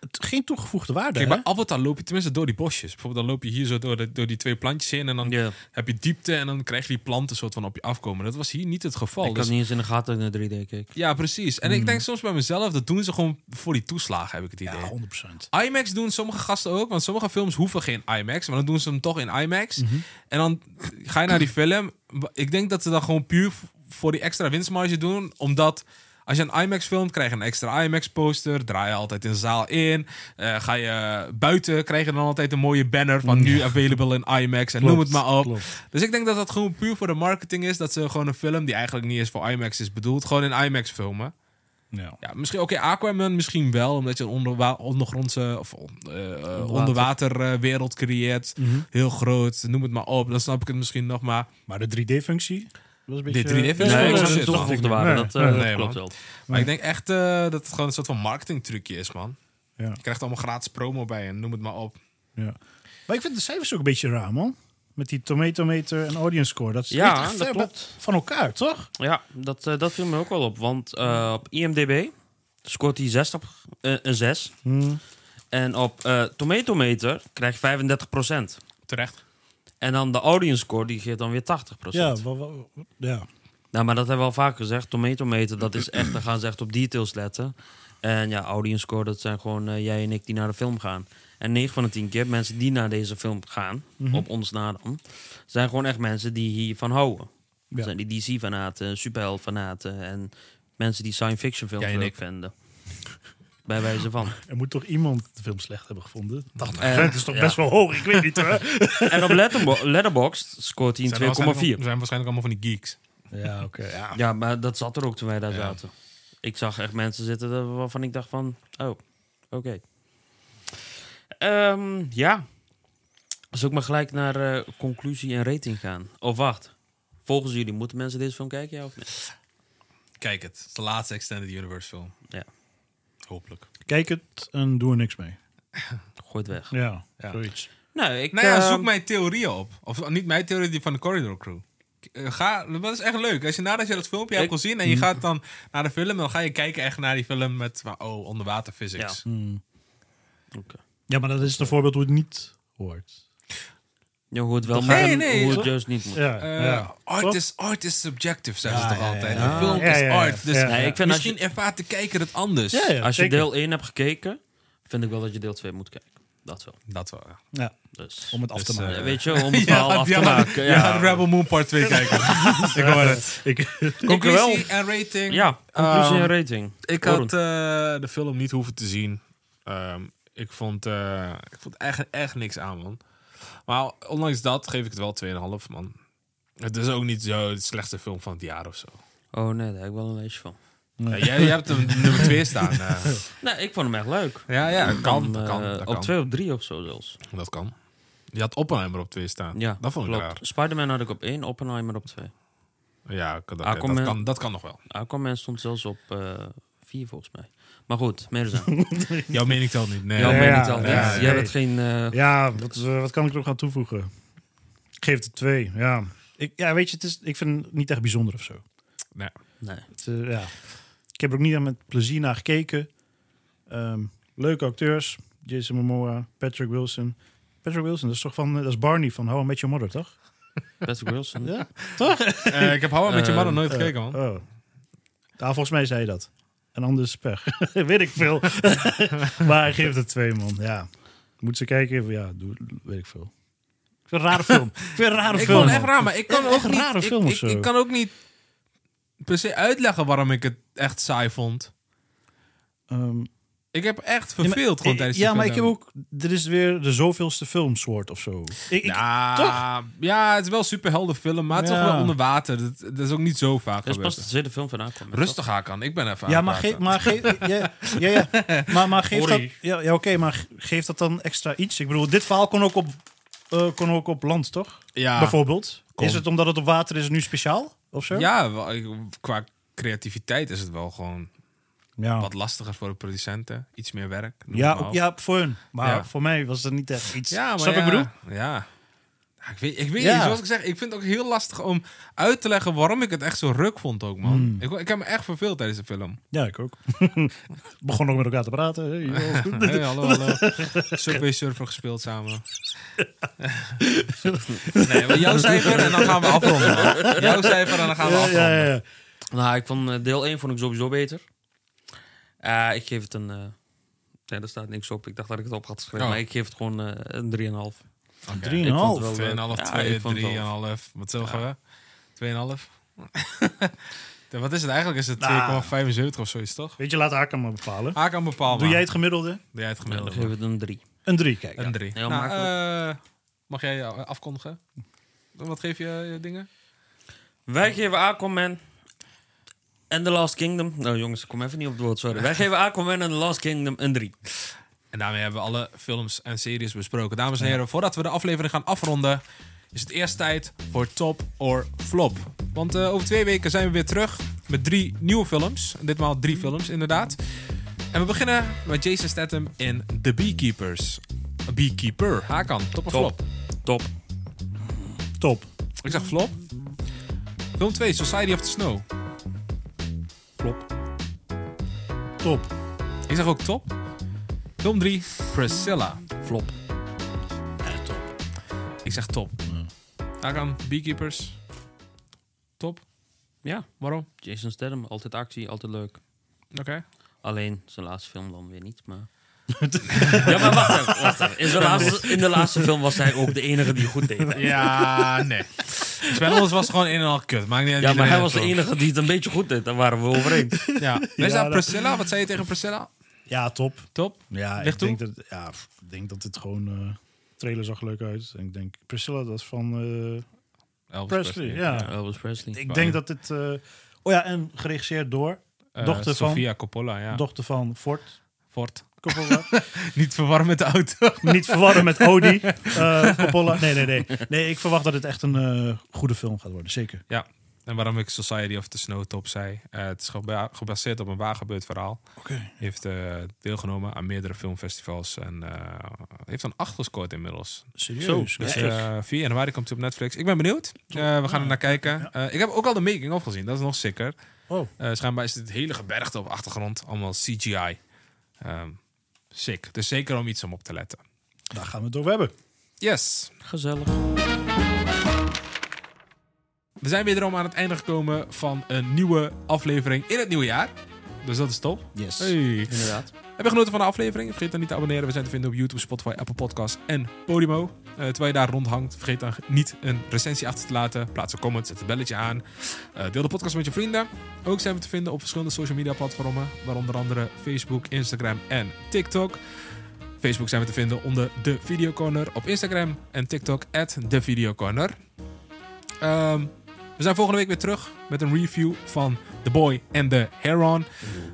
C: Het- Geen toegevoegde waarde,
A: Kijk,
C: hè?
A: bij Avatar loop je tenminste door die bosjes. Bijvoorbeeld dan loop je hier zo door, de- door die twee plantjes heen en dan
B: Ja.
A: heb je diepte en dan krijg je die planten soort van op je afkomen. Dat was hier niet het geval.
B: Ik
A: Dus-
B: had niet eens in de gaten dat ik naar 3D keek.
A: ja, precies. En ik denk soms bij mezelf, dat doen ze gewoon voor die toeslagen, heb ik het idee.
C: Ja, 100%.
A: IMAX doen sommige gasten ook, want sommige films hoeven geen IMAX, maar dan doen ze hem toch in IMAX.
C: Mhm.
A: En dan ga je naar die film. Ik denk dat ze dat gewoon puur v- voor die extra winstmarge doen, omdat als je een IMAX filmt, krijg je een extra IMAX poster, draai je altijd in de zaal in, Eh, ga je buiten, krijg je dan altijd een mooie banner van nu available in IMAX en noem het maar op.
C: klopt.
A: Dus ik denk dat dat gewoon puur voor de marketing is, dat ze gewoon een film die eigenlijk niet eens voor IMAX is bedoeld, gewoon in IMAX filmen.
C: Ja.
A: Ja, misschien, oké, Aquaman misschien wel, omdat je een onderwa- ondergrondse of eh, eh, onderwaterwereld creëert.
B: Mhm.
A: Heel groot, noem het maar op. Dan snap ik het misschien nog maar.
C: Maar de 3D-functie? was een beetje...
A: 3D-functie
B: eh, Nee,
A: wel
B: ik
A: een
B: zag
A: shit,
B: het
A: man.
B: toegevoegde waarde.
C: Nee,
B: Dat eh,
C: nee,
B: dat
A: nee,
B: klopt
A: man.
B: wel.
A: Maar ik denk echt eh, dat het gewoon een soort van marketingtrucje is, man.
C: Ja,
A: Je krijgt allemaal gratis promo bij en noem het maar op.
C: ja. Maar ik vind de cijfers ook een beetje raar, man. Met die tomatometer en audience score. Dat is
B: Ja,
C: echt
B: dat
C: ver
B: klopt.
C: van elkaar, toch?
B: Ja, dat, eh, dat viel me ook wel op. Want eh, op IMDb scoort hij zes op, eh, een 6.
C: Hmm.
B: En op eh Tomatometer krijg je 35%.
A: Terecht.
B: En dan de audience score, die geeft dan weer 80%.
C: Ja, wa- wa- ja.
B: Nou, maar dat hebben we al vaak gezegd. Tomatometer, dat is echt, dan gaan ze echt op details letten. En ja, audience score, dat zijn gewoon eh, jij en ik die naar de film gaan. En 9 van de 10 keer mensen die naar deze film gaan,
C: Mhm.
B: op ons na dan, zijn gewoon echt mensen die hiervan houden.
C: Ja.
B: Dat zijn die DC-fanaten, superheld-fanaten en mensen die science fiction films
A: Jij en
B: leuk
A: ik.
B: vinden. Bij wijze van.
C: Er moet toch iemand de film slecht hebben gevonden? 80%
B: En-
C: is toch
B: ja.
C: best wel hoog? Ik weet niet, hoor.
B: En op Letterbo- Letterboxd scoort hij
A: Zijn waarschijnlijk,
B: een 2,4.
A: zijn waarschijnlijk allemaal van die geeks.
C: Ja, oké. ja.
B: Ja, maar dat zat er ook toen wij daar zaten. Ik zag echt mensen zitten daar waarvan ik dacht van, oh, oké. Ehm, ja. Zal ik maar gelijk naar eh, conclusie en rating gaan? Of wacht. Volgens jullie moeten mensen deze film kijken, ja of nee?
A: Kijk het, het is de laatste Extended Universe film.
B: Ja,
A: Hopelijk.
C: Kijk het en doe er niks mee.
B: gooi het weg.
C: Ja,
A: Ja.
C: zoiets.
B: Nou, ik,
A: Nou ja,
B: ehm,
A: zoek mijn theorieën op. Of niet mijn theorie, die van de Corridor Crew. Eh, Ga, dat is echt leuk. Als je nadat je dat filmpje hebt
B: Ik-
A: gezien
C: Mm.
A: en je gaat dan naar de film, dan ga je kijken echt naar die film met van, oh, onderwater physics.
B: Ja. oké.
C: Ja, maar dat is een voorbeeld hoe het niet hoort.
B: Je hoort wel, maar
A: Nee,
B: en
A: nee,
B: hoe
A: toch?
B: het juist niet moet.
C: Ja,
A: Eh,
C: ja.
A: art,
C: Toch?
A: is, art is subjective, zeggen ze toch
C: ja, ja,
A: altijd.
C: ja.
A: Een film
C: Ja, ja,
A: is
C: ja.
A: art. Dus
C: Ja, ja.
B: Nee, ik vind als je-
A: misschien ervaart de kijker het anders.
C: Ja, ja,
B: Als je
C: zeker.
B: deel 1 hebt gekeken, vind ik wel dat je deel 2 moet kijken. Dat wel.
A: Dat wel. ja.
C: Ja,
B: Dus,
C: om het af te
A: Dus, eh,
C: maken.
B: eh, weet je, om het verhaal af te
A: ja,
B: maken.
A: ja.
B: Ja.
A: gaat Rebel Moon Part 2 kijken.
C: Dus,
A: ik
C: eh,
A: hoor het.
C: Ik,
A: Conclusie en rating.
B: Ja, conclusie
A: Ehm,
B: en rating.
A: Ik
B: Warren.
A: had eh, de film niet hoeven te zien. Ehm, ik vond, eh, ik vond echt, echt niks aan, man. Maar ondanks dat geef ik het wel 2,5, man. Het is ook niet zo de slechtste film van het jaar of zo.
B: Oh nee, daar heb ik wel een lijstje van.
A: Ja, jij, jij hebt hem nummer 2 staan. eh.
B: Nee, ik vond hem echt leuk.
A: ja, ja, dat kan.
B: Om,
A: Dat kan,
B: eh,
A: dat
B: op
A: kan.
B: twee op drie of zo zelfs.
A: Dat kan. Je had Oppenheimer op 2 staan.
B: Ja,
A: dat vond ik
B: klopt.
A: raar.
B: Spider-Man had ik op één, Oppenheimer op twee.
A: Ja, dat, dat,
B: Aquaman.
A: dat kan, dat kan nog wel.
B: Aquaman stond zelfs op eh, vier volgens mij. Maar goed, meer zijn.
A: Jouw mening telt niet. Nee.
B: Jouw
C: Ja,
B: mening telt
C: ja,
B: niet.
C: ja,
B: Jij
C: nee.
B: bent geen... eh,
C: ja, wat, eh, wat kan ik er nog aan toevoegen? Ik geef het twee, ja. Ik, ja, weet je, het is, ik vind het niet echt bijzonder of zo.
A: Nee.
B: nee.
C: Het, eh, ja. Ik heb er ook niet aan met plezier naar gekeken. Ehm, leuke acteurs. Jason Momoa, Patrick Wilson. Patrick Wilson, dat is toch van... eh, dat is Barney van How I Met Your Mother, toch?
B: Patrick Wilson.
C: Ja, toch?
A: Eh, ik heb How I Met Your Mother
B: Ehm,
A: nooit gekeken, man.
C: Oh. Ja, volgens mij zei je dat. En anders pech. weet ik veel. maar hij geeft het twee, man. Ja. Moet ze kijken? Ja, doe, weet ik veel. Ik vind het een rare film. ik vind het een rare
A: ik
C: film.
A: vond het echt
C: man.
A: raar, maar ik kan ook
C: Echt
A: niet...
C: rare
A: ik-
C: film of
A: ik,
C: zo.
A: ik kan ook niet per se uitleggen waarom ik het echt saai vond.
C: Ehm,
A: Ik heb echt verveeld gewoon tijdens die
C: Ja, maar ik heb
A: film.
C: ook... Dit is weer de zoveelste filmsoort of zo. Ik, ik,
A: Nou, Ja, het is wel een superheldenfilm, maar het is
C: Ja.
A: toch wel onder water. Dat, dat is ook niet zo vaak
B: Dat is
A: gebeurd.
B: pas de tweede film van Aquaman.
A: Rustig aan kan, ik ben even
C: Ja,
A: aan
C: maar,
A: het
C: geef,
A: praten.
C: maar, geef, ja, ja, ja. maar, maar geef dat...
B: Sorry.
C: Ja, ja oké, maar ge- geeft dat dan extra iets? Ik bedoel, dit verhaal kon ook op, eh, kon ook op land, toch?
A: Ja.
C: Bijvoorbeeld.
A: Kon.
C: Is het omdat het op water is nu speciaal? Of zo?
A: Ja, wel, ik- qua creativiteit is het wel gewoon
C: Ja,
A: wat lastiger voor de producenten. Iets meer werk. noem
C: Oh. ja,
A: het maar
C: ook-
A: op.
C: ja voor hun. Maar
A: Ja.
C: voor mij was dat niet echt iets.
A: Ja, maar
C: Snap
A: ja,
C: ik bedoel?
A: Ja. Ja, Ik weet, ik weet
C: Ja.
A: niet, zoals ik zeg, ik vind het ook heel lastig om uit te leggen waarom ik het echt zo ruk vond ook, man.
C: Hmm.
A: Ik, ik heb me echt verveeld tijdens de film.
C: Ja, ik ook. Begon ook met elkaar te praten. Hey, joh, alles goed?
A: Hey, hallo, hallo. Subway Surfer gespeeld samen. nee, maar jouw cijfer en dan gaan we afronden, man. Jouw cijfer en dan gaan we
C: ja,
A: afronden.
C: ja, ja.
B: Nou, ik vond eh, deel 1 vond ik sowieso beter. Eh, ik geef het een... eh nee, daar staat niks op. Ik dacht dat ik het op had geschreven.
A: Oh.
B: Maar ik geef het gewoon eh, een 3,5.
A: Oké.
B: Ik vond het
C: 3,5.
B: wel- eh,
A: 2,5,
B: Ja,
A: 2,
B: ik vond het wel.
A: 3,5. Wat zeggen we? 2,5? Ja, Wat is het eigenlijk? Is het
C: Nou.
A: 2,75 of zoiets, toch?
C: Weet je, laat Hakan maar bepalen.
A: Haak aan bepaal,
C: Doe
A: maar.
C: jij het gemiddelde?
A: Doe jij het
B: Dan
A: gemiddelde.
B: geef ik het een 3.
C: Een 3, kijk.
A: Een 3.
B: Heel
A: nou,
B: makkelijk.
A: eh, mag jij jou afkondigen? Wat geef je eh, je dingen?
B: Wij geven Aquaman en The Last Kingdom... Nou jongens, ik kom even niet op het woord, sorry. Wij geven Aquaman en The Last Kingdom een 3.
A: En daarmee hebben we alle films en series besproken. Dames en heren, voordat we de aflevering gaan afronden, is het eerst tijd voor Top or Flop. Want eh, over twee weken zijn we weer terug met drie nieuwe films. Ditmaal drie films, inderdaad. En we beginnen met Jason Statham in The Beekeepers. Beekeeper, Hakan, top of flop?
B: Top. Top.
C: Top.
A: Ik zeg flop. Film 2, Society of the Snow.
C: Flop. Top.
A: Ik zeg ook top. Film 3, Priscilla.
B: Flop. Eh,
A: Ik zeg top. Hakan, Beekeepers. Top.
B: Ja,
A: Waarom?
B: Jason Statham. Altijd actie, altijd leuk.
A: Oké.
B: Alleen zijn laatste film dan weer niet, maar... ja, maar wacht even. Wacht even. In, zijn laatste, in de laatste film was hij ook de enige die goed deed. hè?
A: Ja, nee. Spellenbos was gewoon in en al kut. Maakt niet uit
B: Ja,
A: wie
B: maar hij
A: erin
B: was de
A: kwam.
B: enige die het een beetje goed deed. Daar waren we over eens.
A: Ja. Wij
C: Ja,
A: staan
C: dat-
A: Priscilla. Wat zei je tegen Priscilla?
C: Ja, top.
A: Top.
C: Ja,
A: Leg
C: ik
A: toe.
C: denk, dat, ja, pff, ik denk dat dit gewoon... eh trailer zag er leuk uit. En ik denk, Priscilla, dat is van eh,
A: Elvis
C: Presley. Ja.
B: Elvis Presley.
C: Ik denk dat dit... eh, oh ja, en geregisseerd door...
A: Eh,
C: dochter van...
A: Sofia Coppola, ja.
C: Dochter van Ford.
A: Ford.
C: Coppola.
A: Niet verwarren met de auto.
C: Niet verwarren met Audi. eh, Coppola. Nee, nee, nee. Nee, ik verwacht dat het echt een eh, goede film gaat worden. Zeker.
A: ja. En waarom ik Society of the Snow top zei. eh, het is geba- gebaseerd op een waar gebeurd verhaal.
C: Oké.
A: Heeft eh, deelgenomen aan meerdere filmfestivals. En eh, heeft een 8 gescoord inmiddels.
C: Serieus.
A: Dus
C: Kijk.
A: eh, 4 januari komt hij op Netflix. Ik ben benieuwd. Eh, we gaan er naar kijken. Eh, ik heb ook al de making-of gezien. Dat is nog sicker.
C: oh,
A: Eh, schijnbaar is het hele gebergte op achtergrond allemaal CGI. Ehm sick. Dus zeker om iets om op te letten.
C: daar gaan we het over hebben.
A: Yes.
B: Gezellig.
A: We zijn weer erom aan het einde gekomen van een nieuwe aflevering in het nieuwe jaar. Dus dat is top.
C: Yes.
A: Hey.
B: Inderdaad.
A: Heb je genoten van de aflevering? Vergeet dan niet te abonneren. We zijn te vinden op YouTube, Spotify, Apple Podcasts en Podimo. Eh, terwijl je daar rondhangt, vergeet dan niet een recensie achter te laten. Plaats een comment, zet het belletje aan. Eh, deel de podcast met je vrienden. Ook zijn we te vinden op verschillende social media platformen. Waaronder andere Facebook, Instagram en TikTok. Facebook zijn we te vinden onder de Videocorner. Op Instagram en TikTok at de Videocorner. Ehm, we zijn volgende week weer terug met een review van The Boy and the Heron.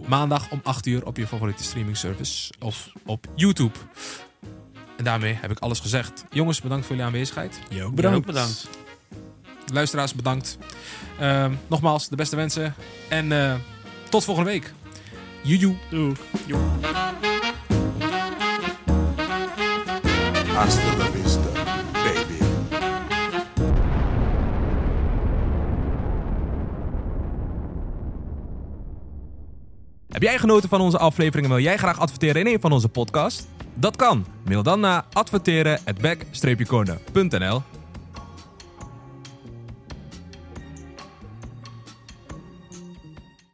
A: Maandag om 8 uur op je favoriete streaming service of op YouTube. En daarmee heb ik alles gezegd. Jongens, bedankt voor jullie aanwezigheid.
C: Jo,
B: Bedankt. bedankt.
A: Luisteraars, bedankt. Ehm, nogmaals, de beste wensen. En eh, tot volgende week. Joejoe.
C: Doei.
F: Hasta la vista, baby.
A: Heb jij genoten van onze aflevering en wil jij graag adverteren in een van onze podcasts? Dat kan. Mail dan naar adverteren at back-corner.nl